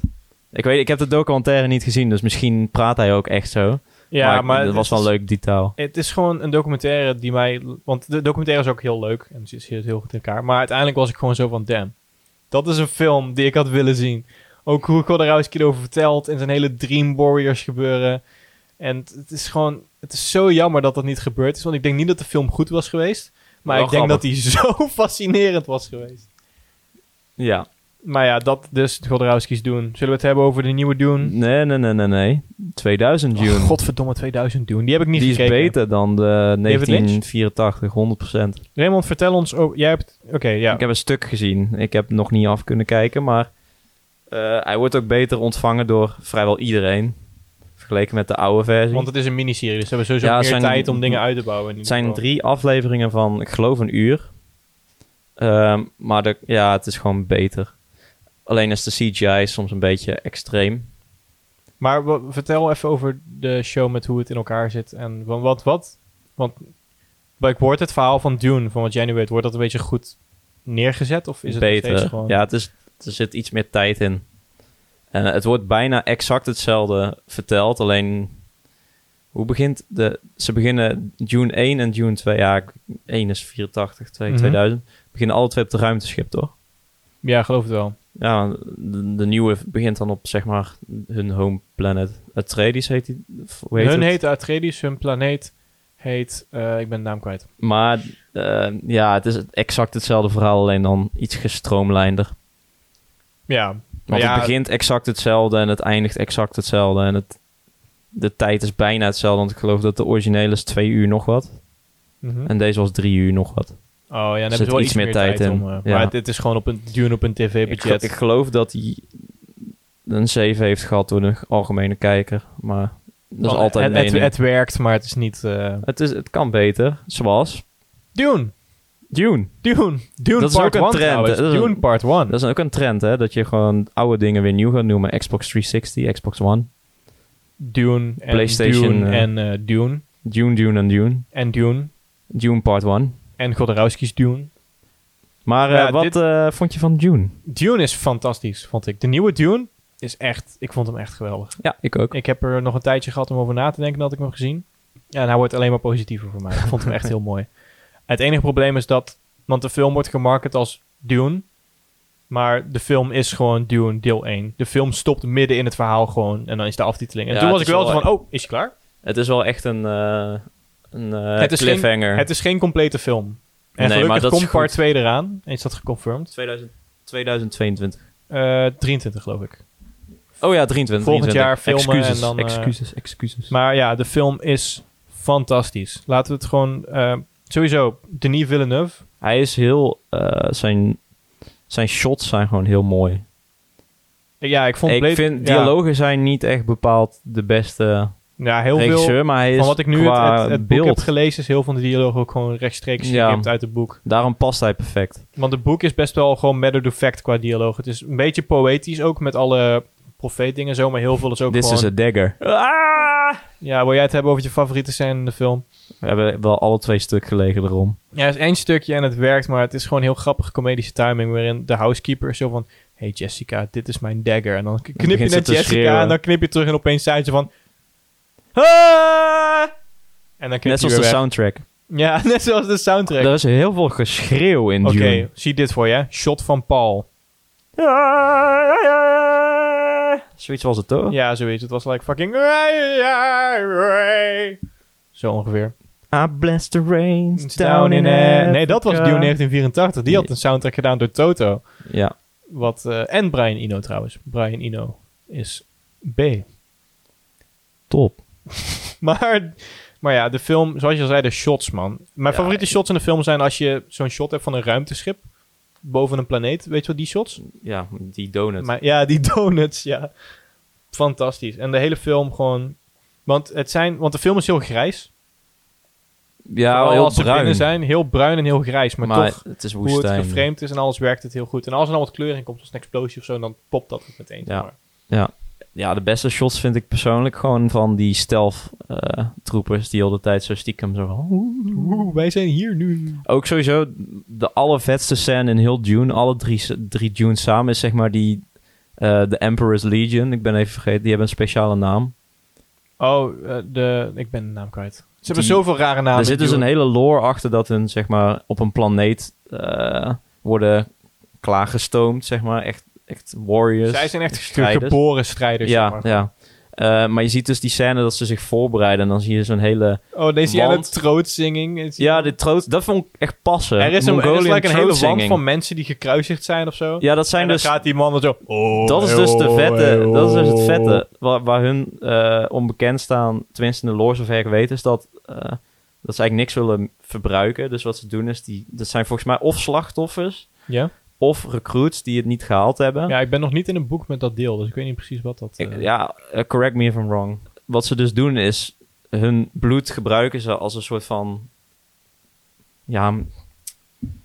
Speaker 2: Ik weet, ik heb de documentaire niet gezien, dus misschien praat hij ook echt zo.
Speaker 1: ja, maar,
Speaker 2: dat
Speaker 1: het
Speaker 2: was wel
Speaker 1: is-
Speaker 2: een leuk detail.
Speaker 1: Het is gewoon een documentaire die mij... Want de documentaire is ook heel leuk. En ze zit heel goed in elkaar. Maar uiteindelijk was ik gewoon zo van... Damn, dat is een film die ik had willen zien. Ook hoe Kodorowski erover vertelt. En zijn hele Dream Warriors gebeuren. En het, het is gewoon... Het is zo jammer dat dat niet gebeurd is. Want ik denk niet dat de film goed was geweest. Maar
Speaker 2: Wel
Speaker 1: ik denk dat
Speaker 2: grappig.
Speaker 1: die zo fascinerend was geweest.
Speaker 2: Ja.
Speaker 1: Maar ja, dat dus Kodorowski's doen. Zullen we het hebben over de nieuwe Dune?
Speaker 2: Nee, nee, nee, nee, nee. 2000 June.
Speaker 1: Oh, godverdomme 2000 Dune. Die heb ik niet
Speaker 2: die is
Speaker 1: gekeken.
Speaker 2: beter dan de
Speaker 1: Lynch?
Speaker 2: 1984, 100%.
Speaker 1: Raymond, vertel ons... over- jij hebt... Oké, ja.
Speaker 2: Ik heb een stuk gezien. Ik heb nog niet af kunnen kijken, maar eh, hij wordt ook beter ontvangen door vrijwel iedereen. Vergeleken met de oude versie.
Speaker 1: Want het is een miniserie, dus ze hebben sowieso
Speaker 2: Ja,
Speaker 1: meer
Speaker 2: zijn-
Speaker 1: tijd om dingen uit te bouwen. in
Speaker 2: Het
Speaker 1: ieder
Speaker 2: zijn
Speaker 1: geval.
Speaker 2: drie afleveringen van, ik geloof, een uur. Ehm, maar de, ja, het is gewoon beter. Alleen is de CGI soms een beetje extreem.
Speaker 1: Maar wa- vertel even over de show met hoe het in elkaar zit. En wa- wat, wat? Want maar ik hoor het verhaal van Dune, van wat jij nu weet. Wordt dat een beetje goed neergezet? Of is het nog steeds
Speaker 2: beter.
Speaker 1: gewoon...
Speaker 2: Ja, het is, er zit iets meer tijd in. En het wordt bijna exact hetzelfde verteld. Alleen, hoe begint de... Ze beginnen June 1 en June 2. Ja, ik- 1 is 84, 2
Speaker 1: Mhm.
Speaker 2: 2000. Beginnen alle twee op het ruimteschip, toch?
Speaker 1: Ja, geloof het wel.
Speaker 2: Ja, de, de nieuwe begint dan op, zeg maar, hun home planet. Atreides heet die. of Hoe heet
Speaker 1: hun
Speaker 2: het?
Speaker 1: heet Atreides, hun planeet heet... eh, ik ben de naam kwijt.
Speaker 2: Maar eh, ja, het is exact hetzelfde verhaal, alleen dan iets gestroomlijnder.
Speaker 1: Ja, maar
Speaker 2: Want
Speaker 1: ja,
Speaker 2: het begint exact hetzelfde en het eindigt exact hetzelfde. En het, de tijd is bijna hetzelfde, want ik geloof dat de originele is twee uur nog wat.
Speaker 1: mhm.
Speaker 2: En deze was drie uur nog wat.
Speaker 1: Oh ja, dan hebben ze
Speaker 2: zit
Speaker 1: wel
Speaker 2: iets
Speaker 1: iets
Speaker 2: meer
Speaker 1: meer tijd,
Speaker 2: tijd in.
Speaker 1: om... eh,
Speaker 2: Ja.
Speaker 1: Maar dit is gewoon op een Dune op een
Speaker 2: Ik, gel-
Speaker 1: tv-budget.
Speaker 2: ik geloof dat die een 7 heeft gehad door de algemene kijker. Maar dat is
Speaker 1: Want
Speaker 2: altijd
Speaker 1: het, het,
Speaker 2: mening.
Speaker 1: het werkt, maar het is niet... eh
Speaker 2: Het, is, het kan beter, zoals
Speaker 1: Dune!
Speaker 2: Dune.
Speaker 1: Dune! Dune
Speaker 2: Dat is
Speaker 1: Part
Speaker 2: ook een
Speaker 1: 1
Speaker 2: trend,
Speaker 1: trouwens.
Speaker 2: dat is een-
Speaker 1: Dune Part 1.
Speaker 2: Dat is ook een trend, hè? Dat je gewoon oude dingen weer nieuw gaat noemen. Xbox 360, Xbox One.
Speaker 1: Dune en
Speaker 2: PlayStation,
Speaker 1: Dune
Speaker 2: eh.
Speaker 1: en eh, Dune.
Speaker 2: Dune, Dune en Dune.
Speaker 1: En Dune.
Speaker 2: Dune Part 1.
Speaker 1: En Godorowski's Dune.
Speaker 2: Maar eh,
Speaker 1: Ja,
Speaker 2: wat
Speaker 1: dit-
Speaker 2: eh, vond je van Dune?
Speaker 1: Dune is fantastisch, vond ik. De nieuwe Dune is echt... Ik vond hem echt geweldig.
Speaker 2: Ja, ik ook.
Speaker 1: Ik heb er nog een tijdje gehad om over na te denken dat ik hem heb gezien. Ja, en hij wordt alleen maar positiever voor mij. Ik vond hem echt heel mooi. Het enige probleem is dat... Want de film wordt gemarket als Dune. Maar de film is gewoon Dune deel 1. De film stopt midden in het verhaal gewoon. En dan is de aftiteling. En
Speaker 2: Ja,
Speaker 1: toen was
Speaker 2: het
Speaker 1: ik
Speaker 2: is
Speaker 1: wel
Speaker 2: wel-
Speaker 1: van... Oh, is hij klaar?
Speaker 2: Het is wel echt een, eh, een eh,
Speaker 1: Het is geen-
Speaker 2: cliffhanger.
Speaker 1: Het is geen complete film. En
Speaker 2: Nee,
Speaker 1: gelukkig
Speaker 2: maar dat is
Speaker 1: komt part
Speaker 2: goed.
Speaker 1: 2 eraan. Is dat geconfirmed?
Speaker 2: 2000 2022.
Speaker 1: Eh, 23 geloof ik.
Speaker 2: Oh ja, 23.
Speaker 1: Volgend
Speaker 2: 23.
Speaker 1: jaar filmen en
Speaker 2: excuses,
Speaker 1: dan, eh,
Speaker 2: Excuses, excuses.
Speaker 1: Maar ja, de film is fantastisch. Laten we het gewoon... eh, sowieso, Denis Villeneuve.
Speaker 2: Hij is heel... eh, zijn, zijn shots zijn gewoon heel mooi.
Speaker 1: Ja, ik vond...
Speaker 2: Ik
Speaker 1: Blade-
Speaker 2: vind,
Speaker 1: ja,
Speaker 2: dialogen zijn niet echt bepaald de beste
Speaker 1: Ja, heel
Speaker 2: regisseur,
Speaker 1: veel...
Speaker 2: maar hij is
Speaker 1: Van wat ik nu het,
Speaker 2: qua
Speaker 1: het, het boek
Speaker 2: beeld.
Speaker 1: heb gelezen... is heel van de dialoog ook gewoon rechtstreeks
Speaker 2: Ja.
Speaker 1: gekipt uit het boek.
Speaker 2: Daarom past hij perfect.
Speaker 1: Want het boek is best wel gewoon matter of fact qua dialoog. Het is een beetje poëtisch ook met alle profeetdingen en zo... maar heel veel is ook
Speaker 2: This
Speaker 1: gewoon...
Speaker 2: is a dagger.
Speaker 1: Ja, wil jij het hebben over je favoriete scène in de film?
Speaker 2: We hebben wel alle twee stuk gelegen erom.
Speaker 1: Ja, er is één stukje en het werkt, maar het is gewoon heel grappige comedische timing waarin de housekeeper is zo van... Hey Jessica, dit is mijn dagger. En dan k- knip je
Speaker 2: begint ze
Speaker 1: naar
Speaker 2: te
Speaker 1: Jessica
Speaker 2: schreeuwen.
Speaker 1: en dan knip je terug en opeens zei ze van... "Ah!" En dan knip
Speaker 2: Net
Speaker 1: je
Speaker 2: zoals
Speaker 1: weer
Speaker 2: de
Speaker 1: weg.
Speaker 2: soundtrack.
Speaker 1: Ja, net zoals de soundtrack.
Speaker 2: Er is heel veel geschreeuw in
Speaker 1: Oké,
Speaker 2: Dune.
Speaker 1: zie dit voor je. Shot van Paul.
Speaker 2: Zoiets was het toch?
Speaker 1: Ja, zoiets. Het was like fucking... Zo ongeveer.
Speaker 2: I bless the rains down in
Speaker 1: eh,
Speaker 2: Africa.
Speaker 1: Nee, dat was Dune 1984. Die had een soundtrack gedaan door Toto.
Speaker 2: Ja,
Speaker 1: Wat, eh, en Brian Eno trouwens. Brian Eno is B.
Speaker 2: top.
Speaker 1: Maar, maar ja, de film, zoals je al zei, de shots, man. Mijn
Speaker 2: Ja,
Speaker 1: favoriete shots in de film zijn als je zo'n shot hebt van een ruimteschip. Boven een planeet, weet je wel, die shots?
Speaker 2: Ja, die donut.
Speaker 1: Maar, ja, die donuts, ja. Fantastisch. En de hele film gewoon... Want, het zijn, want de film is heel grijs.
Speaker 2: ja,
Speaker 1: Vooral
Speaker 2: heel
Speaker 1: als ze binnen
Speaker 2: bruin.
Speaker 1: zijn, heel bruin en heel grijs. Maar,
Speaker 2: maar
Speaker 1: toch,
Speaker 2: het is
Speaker 1: hoe het
Speaker 2: woestijn.
Speaker 1: geframed is en alles werkt het heel goed. En als er dan wat kleur in komt, als een explosie of zo, dan popt dat ook meteen.
Speaker 2: Ja.
Speaker 1: zeg maar.
Speaker 2: ja, de beste shots vind ik persoonlijk gewoon van die stealth eh, troepers die al de tijd zo stiekem zo van...
Speaker 1: Oeh, wij zijn hier nu.
Speaker 2: Ook sowieso de allervetste scène in heel Dune, alle drie, s- drie Dune samen, is zeg maar die eh The Emperor's Legion. Ik ben even vergeten, die hebben een speciale naam.
Speaker 1: Oh, eh, de, ik ben de naam kwijt. Ze hebben
Speaker 2: Die-
Speaker 1: zoveel rare namen.
Speaker 2: er zit dus
Speaker 1: joh.
Speaker 2: een hele lore achter dat hun zeg maar op een planeet eh, worden klaargestoomd, zeg maar. Echt, echt warriors.
Speaker 1: Zij zijn echt
Speaker 2: strijders.
Speaker 1: geboren strijders.
Speaker 2: ja,
Speaker 1: zeg maar.
Speaker 2: ja. Eh, maar je ziet dus die scène dat ze zich voorbereiden en dan zie je zo'n hele...
Speaker 1: Oh, deze jij
Speaker 2: Want-
Speaker 1: het trootzinging. Is-
Speaker 2: Ja, de troot, dat vond ik echt passen.
Speaker 1: er is, een, er is
Speaker 2: Mongolian
Speaker 1: like een hele wand
Speaker 2: trootzinging.
Speaker 1: van mensen die gekruisigd zijn of zo.
Speaker 2: Ja, dat zijn
Speaker 1: en dan
Speaker 2: dus...
Speaker 1: gaat die man dan zo... Oh,
Speaker 2: Dat is
Speaker 1: hey,
Speaker 2: dus de
Speaker 1: oh, hey,
Speaker 2: vette,
Speaker 1: oh.
Speaker 2: dat is dus het vette waar, waar hun eh, onbekend staan, tenminste in de lore zover ik weet, is dat, eh, dat ze eigenlijk niks willen verbruiken. Dus wat ze doen is, die, dat zijn volgens mij of slachtoffers
Speaker 1: Ja?
Speaker 2: of recruits die het niet gehaald hebben.
Speaker 1: ja, ik ben nog niet in een boek met dat deel, dus ik weet niet precies wat dat... eh,
Speaker 2: Ik- ja, eh, correct me if I'm wrong. Wat ze dus doen is, hun bloed gebruiken ze als een soort van, ja, m-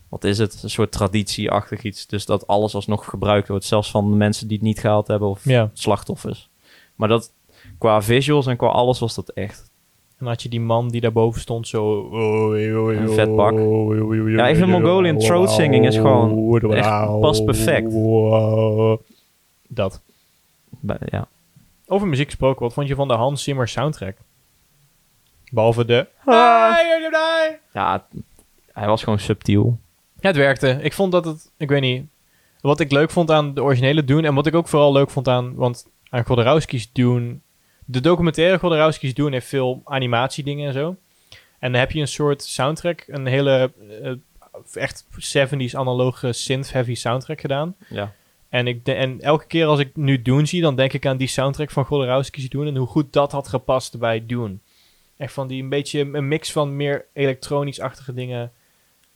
Speaker 2: wat is het? Een soort traditieachtig iets. Dus dat alles alsnog gebruikt wordt, zelfs van de mensen die het niet gehaald hebben of
Speaker 1: Ja,
Speaker 2: slachtoffers. Maar dat qua visuals en qua alles was dat echt.
Speaker 1: en dan had je die man die daarboven stond zo... oh, hey, oh, hey,
Speaker 2: Een
Speaker 1: oh,
Speaker 2: vet bak.
Speaker 1: oh, hey, oh, hey, oh,
Speaker 2: Ja, ik vind
Speaker 1: hey, oh,
Speaker 2: Mongolian
Speaker 1: oh,
Speaker 2: throat
Speaker 1: oh,
Speaker 2: singing is gewoon
Speaker 1: oh,
Speaker 2: echt
Speaker 1: oh,
Speaker 2: past perfect.
Speaker 1: oh. Dat.
Speaker 2: Bij- Ja.
Speaker 1: Over muziek gesproken, wat vond je van de Hans Zimmer soundtrack? Behalve de...
Speaker 2: ja, het- hij was gewoon subtiel.
Speaker 1: Ja, het werkte. Ik vond dat het... Ik weet niet. Wat ik leuk vond aan de originele Dune... en wat ik ook vooral leuk vond aan... want aan Godorowski's Dune... de documentaire Godorowski's Dune heeft veel animatiedingen en zo. En dan heb je een soort soundtrack... een hele eh, echt 70s analoge synth-heavy soundtrack gedaan...
Speaker 2: Ja.
Speaker 1: En, ik de- en elke keer als ik nu Dune zie, dan denk ik aan die soundtrack van Godorowski's Dune en hoe goed dat had gepast bij Dune. Echt van die een beetje een mix van meer elektronisch-achtige dingen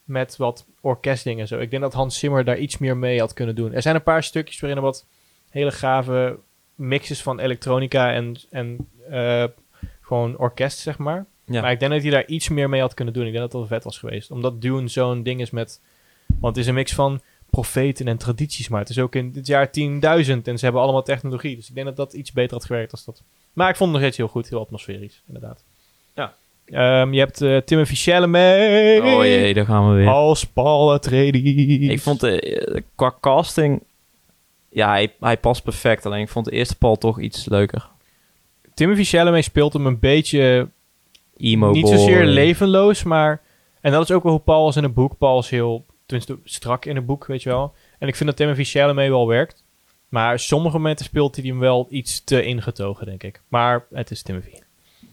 Speaker 1: met wat orkestdingen en zo. Ik denk dat Hans Zimmer daar iets meer mee had kunnen doen. Er zijn een paar stukjes waarin er wat hele gave mixes van elektronica en, en eh, gewoon orkest, zeg maar.
Speaker 2: Ja.
Speaker 1: Maar ik denk dat hij daar iets meer mee had kunnen doen. Ik denk dat dat wel vet was geweest. Omdat Dune zo'n ding is met... Want het is een mix van profeten en tradities. Maar het is ook in dit jaar 10.000. En ze hebben allemaal technologie. Dus ik denk dat dat iets beter had gewerkt als dat. Maar ik vond het nog steeds heel goed. Heel atmosferisch, inderdaad.
Speaker 2: Ja.
Speaker 1: Ehm, je hebt eh Timothy Chalamet.
Speaker 2: Oh jee, daar gaan we weer.
Speaker 1: Als Paul Atreides.
Speaker 2: Ik vond eh, eh, qua casting... Ja, hij, hij past perfect. Alleen ik vond de eerste Paul toch iets leuker.
Speaker 1: Timothy Chalamet speelt hem een beetje...
Speaker 2: Emo
Speaker 1: niet
Speaker 2: boy.
Speaker 1: zozeer levenloos, maar... En dat is ook wel hoe Paul is in het boek. Paul is heel tenminste, strak in het boek, weet je wel. En ik vind dat Timothy Chalamet wel werkt. Maar sommige momenten speelt hij hem wel iets te ingetogen, denk ik. Maar het is Timothy.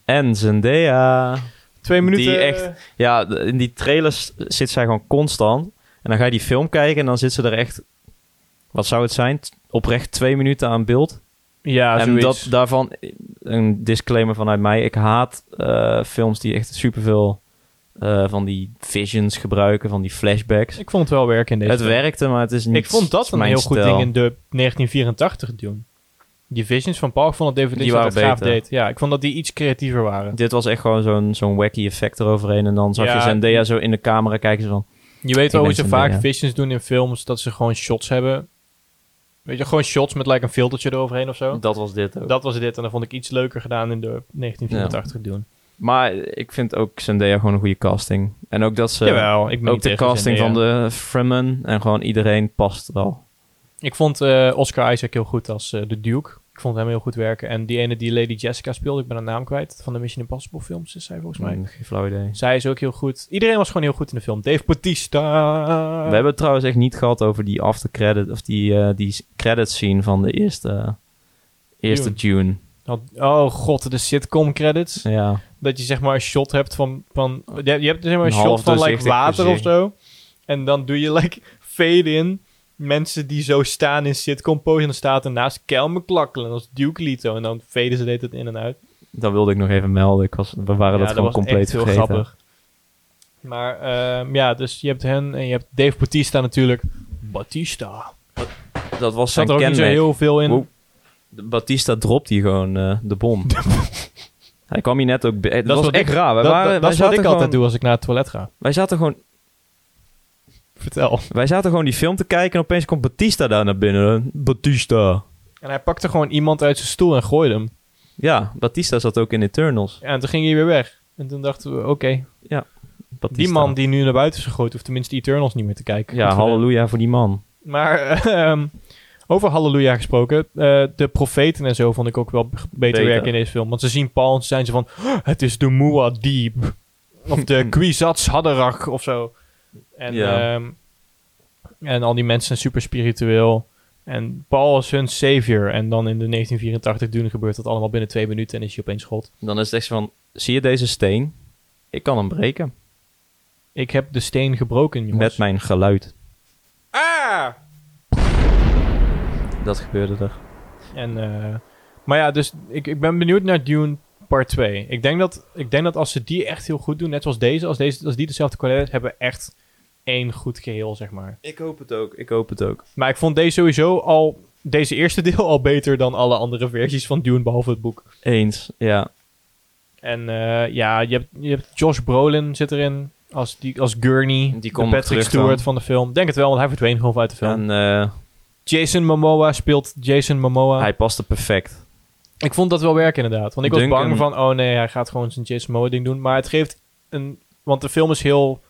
Speaker 2: En Zendaya.
Speaker 1: Twee minuten... eh,
Speaker 2: Die echt- Ja, d- in die trailers zit zij gewoon constant. En dan ga je die film kijken en dan zit ze er echt... Wat zou het zijn? T- Oprecht twee minuten aan beeld.
Speaker 1: Ja,
Speaker 2: en
Speaker 1: zoiets.
Speaker 2: dat, daarvan een disclaimer vanuit mij. Ik haat eh, films die echt superveel eh van die visions gebruiken, van die flashbacks.
Speaker 1: Ik vond het wel werken in deze
Speaker 2: Het
Speaker 1: film.
Speaker 2: werkte, maar het is niet
Speaker 1: Ik vond dat een
Speaker 2: mijn
Speaker 1: heel goed
Speaker 2: stijl.
Speaker 1: ding in de 1984 doen. Die visions van Paul, ik vond dat David
Speaker 2: Die
Speaker 1: Lynch dat
Speaker 2: waren
Speaker 1: gaaf
Speaker 2: beter.
Speaker 1: deed. Ja, ik vond dat die iets creatiever waren.
Speaker 2: Dit was echt gewoon zo'n zo'n wacky effect eroverheen. En dan zag
Speaker 1: Ja.
Speaker 2: je Zendaya zo in de camera kijken. Zo van,
Speaker 1: Je weet
Speaker 2: Ik
Speaker 1: wel hoe
Speaker 2: ben
Speaker 1: ze
Speaker 2: zo'n
Speaker 1: vaak
Speaker 2: ding,
Speaker 1: visions doen in films, dat ze gewoon shots hebben. Weet je, gewoon shots met like een filtertje eroverheen of zo.
Speaker 2: dat was dit ook.
Speaker 1: Dat was dit en dat vond ik iets leuker gedaan in de 1984 doen.
Speaker 2: Maar ik vind ook Zendaya gewoon een goede casting. En ook dat ze...
Speaker 1: Jawel, ik ben
Speaker 2: ook
Speaker 1: niet
Speaker 2: de
Speaker 1: tegen
Speaker 2: casting van
Speaker 1: Zendaya.
Speaker 2: de Fremen en gewoon iedereen past wel.
Speaker 1: Ik vond eh, Oscar Isaac heel goed als eh, de Duke. Ik vond hem heel goed werken. En die ene die Lady Jessica speelde, ik ben haar naam kwijt, van de Mission Impossible films is zij volgens mij.
Speaker 2: Mm, Geen flauw idee.
Speaker 1: Zij is ook heel goed. Iedereen was gewoon heel goed in de film. Dave Bautista.
Speaker 2: We hebben het trouwens echt niet gehad over die after credit of die, eh die credit scene van de eerste, eerste Dune.
Speaker 1: Had- Oh god, de sitcom credits.
Speaker 2: Ja.
Speaker 1: Dat je zeg maar een shot hebt van... van je, hebt- je hebt zeg maar een,
Speaker 2: Oh. Een
Speaker 1: shot
Speaker 2: half
Speaker 1: van like,
Speaker 2: doorzichtig
Speaker 1: water of
Speaker 2: gezicht.
Speaker 1: zo. En dan doe je like fade in. Mensen die zo staan in sitcom pose. En dan staat ernaast Kel McLachlan als Duke Leto. En dan faden ze de hele tijd in en uit.
Speaker 2: Dat wilde ik nog even melden. Ik was, we waren dat
Speaker 1: Ja,
Speaker 2: gewoon
Speaker 1: was
Speaker 2: compleet
Speaker 1: echt heel
Speaker 2: vergeten.
Speaker 1: grappig. Maar ehm, ja, dus je hebt hen en je hebt Dave Bautista natuurlijk. Bautista.
Speaker 2: Dat was zijn
Speaker 1: Zat er ook niet zo
Speaker 2: kenmerk.
Speaker 1: heel veel in.
Speaker 2: Wow. De Batista dropt hier gewoon eh, de bom. Hij kwam hier net ook... bij- Het
Speaker 1: Dat is
Speaker 2: was
Speaker 1: wat
Speaker 2: echt
Speaker 1: ik-
Speaker 2: raar. Wij,
Speaker 1: dat, dat,
Speaker 2: waren, wij
Speaker 1: dat is wat
Speaker 2: zaten
Speaker 1: ik
Speaker 2: gewoon,
Speaker 1: altijd doe als ik naar het toilet ga.
Speaker 2: Wij zaten, gewoon,
Speaker 1: Vertel.
Speaker 2: wij zaten gewoon die film te kijken en opeens komt Batista daar naar binnen. Batista.
Speaker 1: En hij pakte gewoon iemand uit zijn stoel en gooide hem.
Speaker 2: Ja, Batista zat ook in Eternals.
Speaker 1: En toen ging hij weer weg. En toen dachten we, oké,
Speaker 2: Batista.
Speaker 1: die man die nu naar buiten is gegooid... hoeft tenminste Eternals niet meer te kijken.
Speaker 2: Ja,
Speaker 1: Goed voor hem.
Speaker 2: halleluja voor die man.
Speaker 1: Maar ehm, over halleluja gesproken... eh, de profeten en zo vond ik ook wel b- beter,
Speaker 2: Beter.
Speaker 1: werken in deze film. Want ze zien Paul en zijn ze van... "Oh, het is de Muad'Dib. Of de Kwisatz Haderach of zo. En,
Speaker 2: Ja.
Speaker 1: ehm, en al die mensen zijn super spiritueel. En Paul is hun savior. En dan in de 1984 doen gebeurt dat allemaal binnen twee minuten... en is hij opeens god.
Speaker 2: Dan is het echt zo van, zie je deze steen? Ik kan hem breken.
Speaker 1: Ik heb de steen gebroken, jongens.
Speaker 2: Met mijn geluid.
Speaker 1: Ah!
Speaker 2: Dat gebeurde er.
Speaker 1: En, eh, maar ja, dus ik, ik ben benieuwd naar Dune Part 2. Ik denk, dat, ik denk dat als ze die echt heel goed doen, net zoals deze, als, deze, als die dezelfde kwaliteit hebben, echt één goed geheel, zeg maar.
Speaker 2: Ik hoop het ook, ik hoop het ook.
Speaker 1: Maar ik vond deze sowieso al, deze eerste deel al beter dan alle andere versies van Dune, behalve het boek.
Speaker 2: Eens, ja.
Speaker 1: En eh, ja, je hebt, je hebt Josh Brolin zit erin. Als, die, als Gurney,
Speaker 2: Die
Speaker 1: de
Speaker 2: komt
Speaker 1: Patrick
Speaker 2: terug dan.
Speaker 1: Stewart van de film. Denk het wel, want hij verdween gewoon uit de film.
Speaker 2: En eh,
Speaker 1: Jason Momoa speelt Jason Momoa.
Speaker 2: hij paste perfect.
Speaker 1: Ik vond dat wel werken inderdaad. Want ik was
Speaker 2: Duncan-
Speaker 1: bang van, oh nee, hij gaat gewoon zijn Jason Momoa ding doen. Maar het geeft een... Want de film is heel...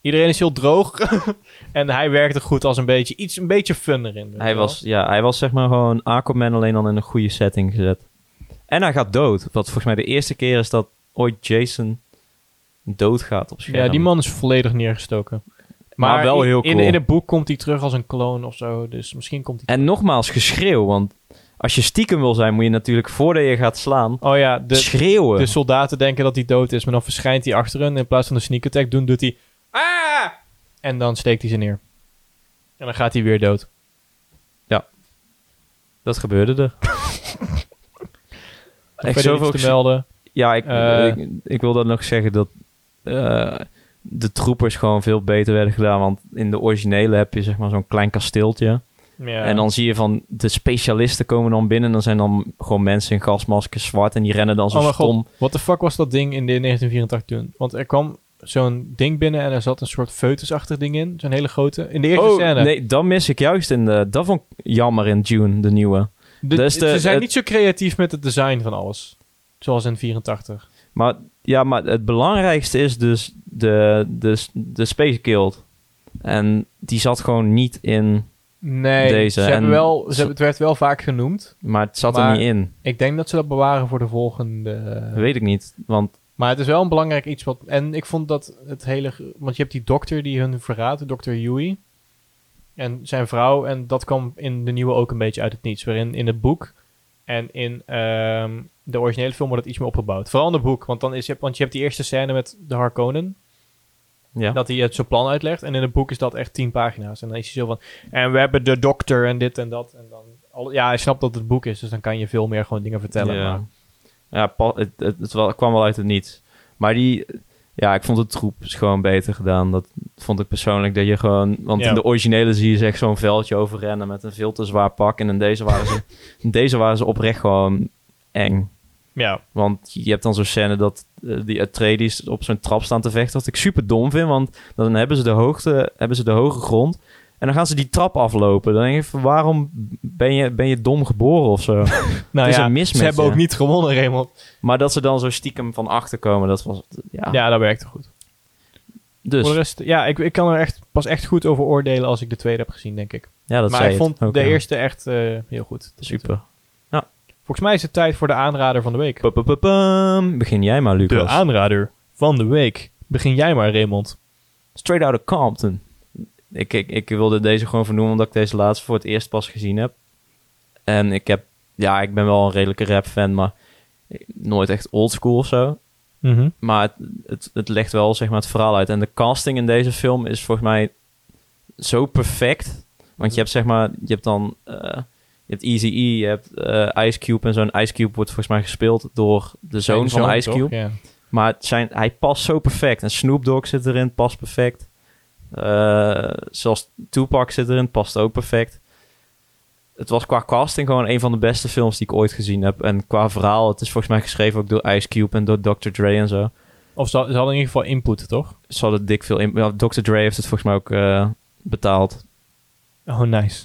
Speaker 1: Iedereen is heel droog. en hij werkte goed als een beetje... Iets een beetje fun erin. weet je
Speaker 2: Hij
Speaker 1: wel.
Speaker 2: was, ja, hij was zeg maar gewoon Aquaman alleen al in een goede setting gezet. En hij gaat dood. Wat volgens mij de eerste keer is dat ooit Jason doodgaat op scherm.
Speaker 1: Ja, die man is volledig neergestoken. Maar,
Speaker 2: Maar wel
Speaker 1: in-
Speaker 2: heel
Speaker 1: in,
Speaker 2: cool.
Speaker 1: in het boek komt hij terug als een kloon of zo. Dus misschien komt hij...
Speaker 2: En nogmaals, geschreeuw. Want als je stiekem wil zijn, moet je natuurlijk voordat je gaat slaan,
Speaker 1: Oh ja, de,
Speaker 2: schreeuwen.
Speaker 1: de soldaten denken dat hij dood is. Maar dan verschijnt hij achter hen. In plaats van de sneak attack doen, doet hij... Ah! En dan steekt hij ze neer. En dan gaat hij weer dood.
Speaker 2: Dat gebeurde er. Echt
Speaker 1: Verder
Speaker 2: zoveel
Speaker 1: iets te melden.
Speaker 2: Ja, ik,
Speaker 1: Eh.
Speaker 2: ik, ik wil dan nog zeggen dat eh, de troepers gewoon veel beter werden gedaan. Want in de originele heb je zeg maar zo'n klein kasteeltje.
Speaker 1: Ja.
Speaker 2: En dan zie je van de specialisten komen dan binnen. En dan zijn dan gewoon mensen in gasmaskers zwart. En die rennen dan zo
Speaker 1: Oh mijn god.
Speaker 2: stom.
Speaker 1: What the fuck was dat ding in de 1984 toen? Want er kwam zo'n ding binnen en er zat een soort feutusachtig ding in. Zo'n hele grote. In de eerste
Speaker 2: oh,
Speaker 1: scène.
Speaker 2: nee, dan mis ik juist in de... Dat vond ik jammer in June, de nieuwe.
Speaker 1: De-
Speaker 2: dus de-
Speaker 1: ze zijn
Speaker 2: het-
Speaker 1: niet zo creatief met het design van alles. Zoals in 84.
Speaker 2: Maar ja, maar het belangrijkste is dus de, de, de Space Guild. En die zat gewoon niet in...
Speaker 1: Nee,
Speaker 2: Deze,
Speaker 1: ze hebben
Speaker 2: en-
Speaker 1: wel, ze hebben, het werd wel vaak genoemd.
Speaker 2: Maar het zat er
Speaker 1: Maar-
Speaker 2: niet in.
Speaker 1: Ik denk dat ze dat bewaren voor de volgende. eh,
Speaker 2: Weet ik niet. Want
Speaker 1: Maar het is wel een belangrijk iets wat... En ik vond dat het hele... ge- Want je hebt die dokter die hun verraadt, dokter Yui. En zijn vrouw. En dat kwam in de nieuwe ook een beetje uit het niets. Waarin in het boek en in ehm, de originele film wordt het iets meer opgebouwd. Vooral in het boek. Want, dan is, je- want je hebt die eerste scène met de Harkonnen.
Speaker 2: ja.
Speaker 1: Dat hij het zijn plan uitlegt. En in het boek is dat echt tien pagina's. En dan is hij zo van... En we hebben de dokter en dit en dat. En dan, al, ja, hij snapt dat het boek is. Dus dan kan je veel meer gewoon dingen vertellen.
Speaker 2: Ja,
Speaker 1: maar-
Speaker 2: ja pa- het, het, het wel- kwam wel uit het niets. Maar die, ja, ik vond het troep gewoon beter gedaan. Dat vond ik persoonlijk dat je gewoon, want
Speaker 1: Ja.
Speaker 2: in de originele zie je ze echt zo'n veldje overrennen met een veel te zwaar pak. En in deze waren ze, in deze waren ze oprecht gewoon eng.
Speaker 1: ja.
Speaker 2: Want je hebt dan zo'n scène dat eh, die Atreides op zo'n trap staan te vechten. Wat ik super dom vind, want dan hebben ze de hoogte, hebben ze de hoge grond. En dan gaan ze die trap aflopen. Dan denk ik van, waarom ben je, ben je dom geboren of zo?
Speaker 1: Nou
Speaker 2: Het is
Speaker 1: ja,
Speaker 2: een mismatch,
Speaker 1: ze hebben
Speaker 2: hè?
Speaker 1: ook niet gewonnen, Raymond.
Speaker 2: Maar dat ze dan zo stiekem van achter komen, dat was... Ja,
Speaker 1: Ja, dat werkte goed. Voor de
Speaker 2: dus...
Speaker 1: rest, ja, ik, ik kan er echt pas echt goed over oordelen als ik de tweede heb gezien, denk ik.
Speaker 2: Ja, dat
Speaker 1: maar
Speaker 2: zei
Speaker 1: ik
Speaker 2: het
Speaker 1: vond
Speaker 2: ook,
Speaker 1: de
Speaker 2: ja.
Speaker 1: eerste echt eh, heel goed.
Speaker 2: Super.
Speaker 1: Volgens mij is het tijd voor de aanrader van de week.
Speaker 2: Pa, pa, pa, pam. Begin jij maar, Lucas.
Speaker 1: aanrader van de week. Begin jij maar, Raymond.
Speaker 2: Straight Outta Compton. Ik, ik, ik wilde deze gewoon vernoemen omdat ik deze laatst voor het eerst pas gezien heb. En ik heb... Ja, ik ben wel een redelijke rap-fan, maar nooit echt oldschool of zo.
Speaker 1: Mhm.
Speaker 2: Maar het, het, het legt wel zeg maar, het verhaal uit. En de casting in deze film is volgens mij zo perfect. Want je hebt zeg maar, je hebt dan eh, je hebt Easy E, je hebt eh, Ice Cube en zo'n Ice Cube wordt volgens mij gespeeld door de zoon van Ice Cube.
Speaker 1: Ja.
Speaker 2: Maar het zijn, hij past zo perfect. En Snoop Dogg zit erin, past perfect. Eh, zelfs Tupac zit erin, past ook perfect. Het was qua casting gewoon een van de beste films die ik ooit gezien heb. En qua verhaal, het is volgens mij geschreven ook door Ice Cube en door Dr. Dre en zo
Speaker 1: Of ze, ze hadden in ieder geval input, toch?
Speaker 2: ze hadden dik veel... In, ja, Dr. Dre heeft het volgens mij ook eh, betaald.
Speaker 1: Oh, nice.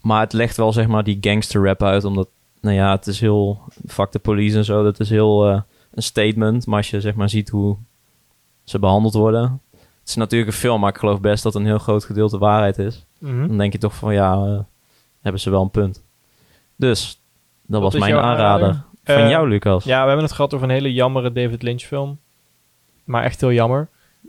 Speaker 2: Maar het legt wel, zeg maar, die gangster rap uit. Omdat, nou ja, het is heel... Fuck the police en zo. Dat is heel eh, een statement. Maar als je, zeg maar, ziet hoe ze behandeld worden... Het is natuurlijk een film, maar ik geloof best dat een heel groot gedeelte waarheid is.
Speaker 1: Mhm.
Speaker 2: Dan denk je toch van, ja, eh, hebben ze wel een punt. Dus,
Speaker 1: Wat
Speaker 2: dat was
Speaker 1: is
Speaker 2: mijn
Speaker 1: jouw
Speaker 2: aanrader.
Speaker 1: aanrader?
Speaker 2: Van
Speaker 1: Eh,
Speaker 2: jou, Lucas.
Speaker 1: Ja, we hebben het gehad over een hele jammere David Lynch film. Maar echt heel jammer.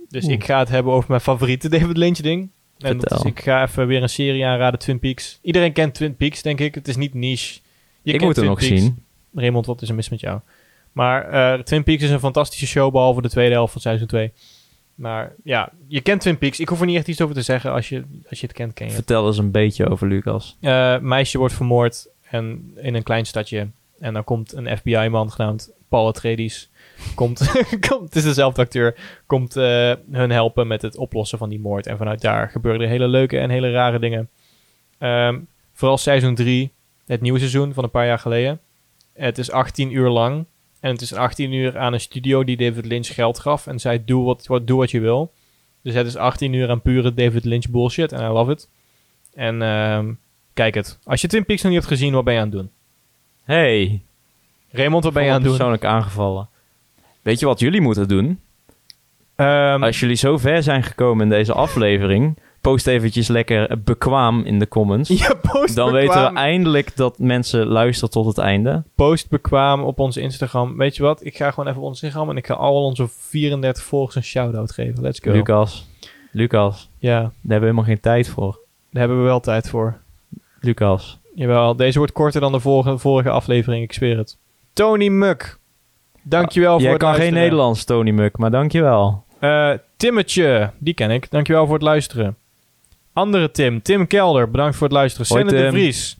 Speaker 1: Dus
Speaker 2: Oeh.
Speaker 1: ik ga het hebben over mijn favoriete David Lynch ding. En dat
Speaker 2: Vertel.
Speaker 1: is, ik ga even weer een serie aanraden, Twin Peaks. Iedereen kent Twin Peaks, denk ik. Het is niet niche. Je
Speaker 2: ik
Speaker 1: kent
Speaker 2: moet hem
Speaker 1: Twin
Speaker 2: nog
Speaker 1: Peaks.
Speaker 2: zien.
Speaker 1: Raymond, wat is er mis met jou? Maar eh, Twin Peaks is een fantastische show, behalve de tweede helft van seizoen 2. Maar ja, je kent Twin Peaks. Ik hoef er niet echt iets over te zeggen. Als je, als je het kent, ken je het.
Speaker 2: Vertel eens een beetje over Lucas.
Speaker 1: Eh, meisje wordt vermoord en in een klein stadje. En dan komt een FBI-man genaamd Paul Atreides. Komt, komt, het is dezelfde acteur. Komt eh, hun helpen met het oplossen van die moord. En vanuit daar gebeuren er hele leuke en hele rare dingen. Ehm, vooral seizoen 3, het nieuwe seizoen van een paar jaar geleden. Het is 18 uur lang. En het is 18 uur aan een studio die David Lynch geld gaf. En zei: Doe wat, wat, doe wat je wil. Dus het is 18 uur aan pure David Lynch bullshit. En I love it. En ehm, kijk het. Als je Twin Peaks nog niet hebt gezien, wat ben je aan het doen?
Speaker 2: Hey,
Speaker 1: Raymond, wat ben je
Speaker 2: Volle
Speaker 1: aan het doen?
Speaker 2: persoonlijk aangevallen. Weet je wat jullie moeten doen?
Speaker 1: Ehm,
Speaker 2: Als jullie zo ver zijn gekomen in deze aflevering, post eventjes lekker eh, bekwaam in de comments.
Speaker 1: ja, post
Speaker 2: Dan
Speaker 1: bekwaam,
Speaker 2: weten we eindelijk dat mensen luisteren tot het einde.
Speaker 1: post bekwaam op onze Instagram. Weet je wat? Ik ga gewoon even op onze Instagram en ik ga al onze 34 volgers een shout-out geven. Let's go.
Speaker 2: Lucas, Lucas,
Speaker 1: Ja,
Speaker 2: daar hebben we helemaal geen tijd voor.
Speaker 1: daar hebben we wel tijd voor.
Speaker 2: Lucas,
Speaker 1: Jawel, deze wordt korter dan de vorige, vorige aflevering, ik zweer het. Tony Muk. Dankjewel voor
Speaker 2: Ah, jij
Speaker 1: het
Speaker 2: kan geen
Speaker 1: luisteren.
Speaker 2: Nederlands, Tony Muk, maar dankjewel.
Speaker 1: Eh, Timmetje, die ken ik. Dankjewel voor het luisteren. Andere Tim, Tim Kelder, bedankt voor het luisteren.
Speaker 2: Hoi,
Speaker 1: Senne de
Speaker 2: Tim.
Speaker 1: Vries.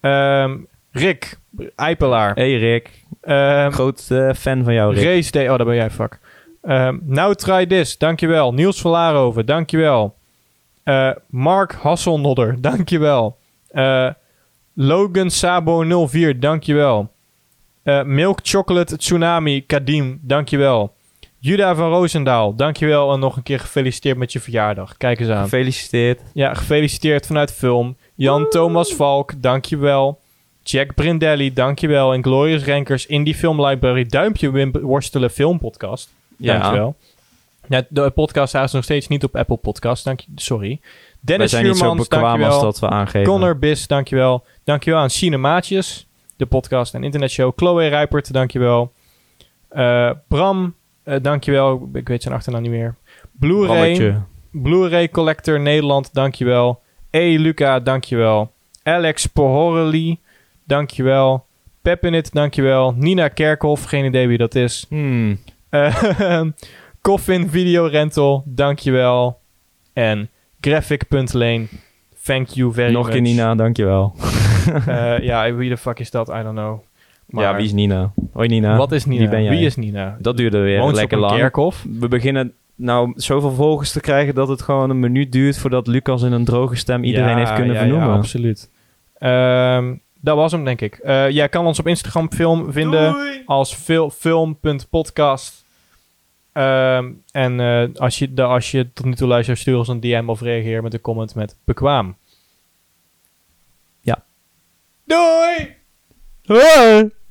Speaker 1: Ehm, Rick, Eipelaar.
Speaker 2: Hey Rick,
Speaker 1: Ehm,
Speaker 2: groot eh, fan van jou Rick.
Speaker 1: Race Day, oh daar ben jij, fuck. Ehm nou Try This, dankjewel. Niels van Laarhoven, dankjewel. Eh Mark Hasselnodder, dankjewel. Eh, Logan Sabo 04, dankjewel. Eh Milk Chocolate Tsunami Kadim, dankjewel. Juda van Roosendaal, dankjewel. En nog een keer gefeliciteerd met je verjaardag. Kijk eens aan.
Speaker 2: Gefeliciteerd.
Speaker 1: Ja, gefeliciteerd vanuit film. Jan Thomas Valk, dankjewel. Jack Brindelli, dankjewel. En Glorious Rankers, Indie Film Library, Duimpje Wimp- Worstelen Filmpodcast.
Speaker 2: Ja,
Speaker 1: Dankjewel. Ja, de podcast staat nog steeds niet op Apple Podcast. Dank je, sorry.
Speaker 2: wij
Speaker 1: Dennis
Speaker 2: zijn niet zo
Speaker 1: Schuurmans,
Speaker 2: bekwaam als
Speaker 1: dankjewel.
Speaker 2: dat we aangeven.
Speaker 1: Connor Bis, dankjewel. Dankjewel aan Cinemaatjes, de podcast en internetshow. Chloe Rijpert, dankjewel. Eh Bram, eh, dankjewel. Ik weet zijn achternaam niet meer. Blu-ray.
Speaker 2: Bralletje.
Speaker 1: Blu-ray Collector Nederland, dankjewel. E. Luca, dankjewel. Alex Pohorely, dankjewel. Pepinit, dankjewel. Nina Kerkhoff, geen idee wie dat is.
Speaker 2: Hmm.
Speaker 1: Eh, Coffin Video Rental, dankjewel. En Graphic.lane, thank you very
Speaker 2: Nog een
Speaker 1: much.
Speaker 2: keer Nina, dankjewel.
Speaker 1: Eh, ja, wie de fuck is dat? I don't know. Maar
Speaker 2: ja, wie is Nina? Hoi Nina.
Speaker 1: Wat is Nina?
Speaker 2: Wie ben jij?
Speaker 1: Wie is Nina?
Speaker 2: Dat duurde weer
Speaker 1: Woont ze
Speaker 2: lekker
Speaker 1: op een
Speaker 2: lang.
Speaker 1: kerkhof?
Speaker 2: We beginnen nou zoveel volgers te krijgen dat het gewoon een minuut duurt voordat Lucas in een droge stem iedereen
Speaker 1: Ja,
Speaker 2: heeft kunnen
Speaker 1: ja,
Speaker 2: vernoemen.
Speaker 1: Ja, absoluut. Ehm, dat was hem, denk ik. Eh, jij kan ons op Instagram film vinden als fil- film.podcast. Ehm, en eh, als, je, de, als je tot nu toe luistert, stuur ons een DM of reageer met een comment met bekwaam.
Speaker 2: Ja.
Speaker 1: Doei!
Speaker 2: Hoi!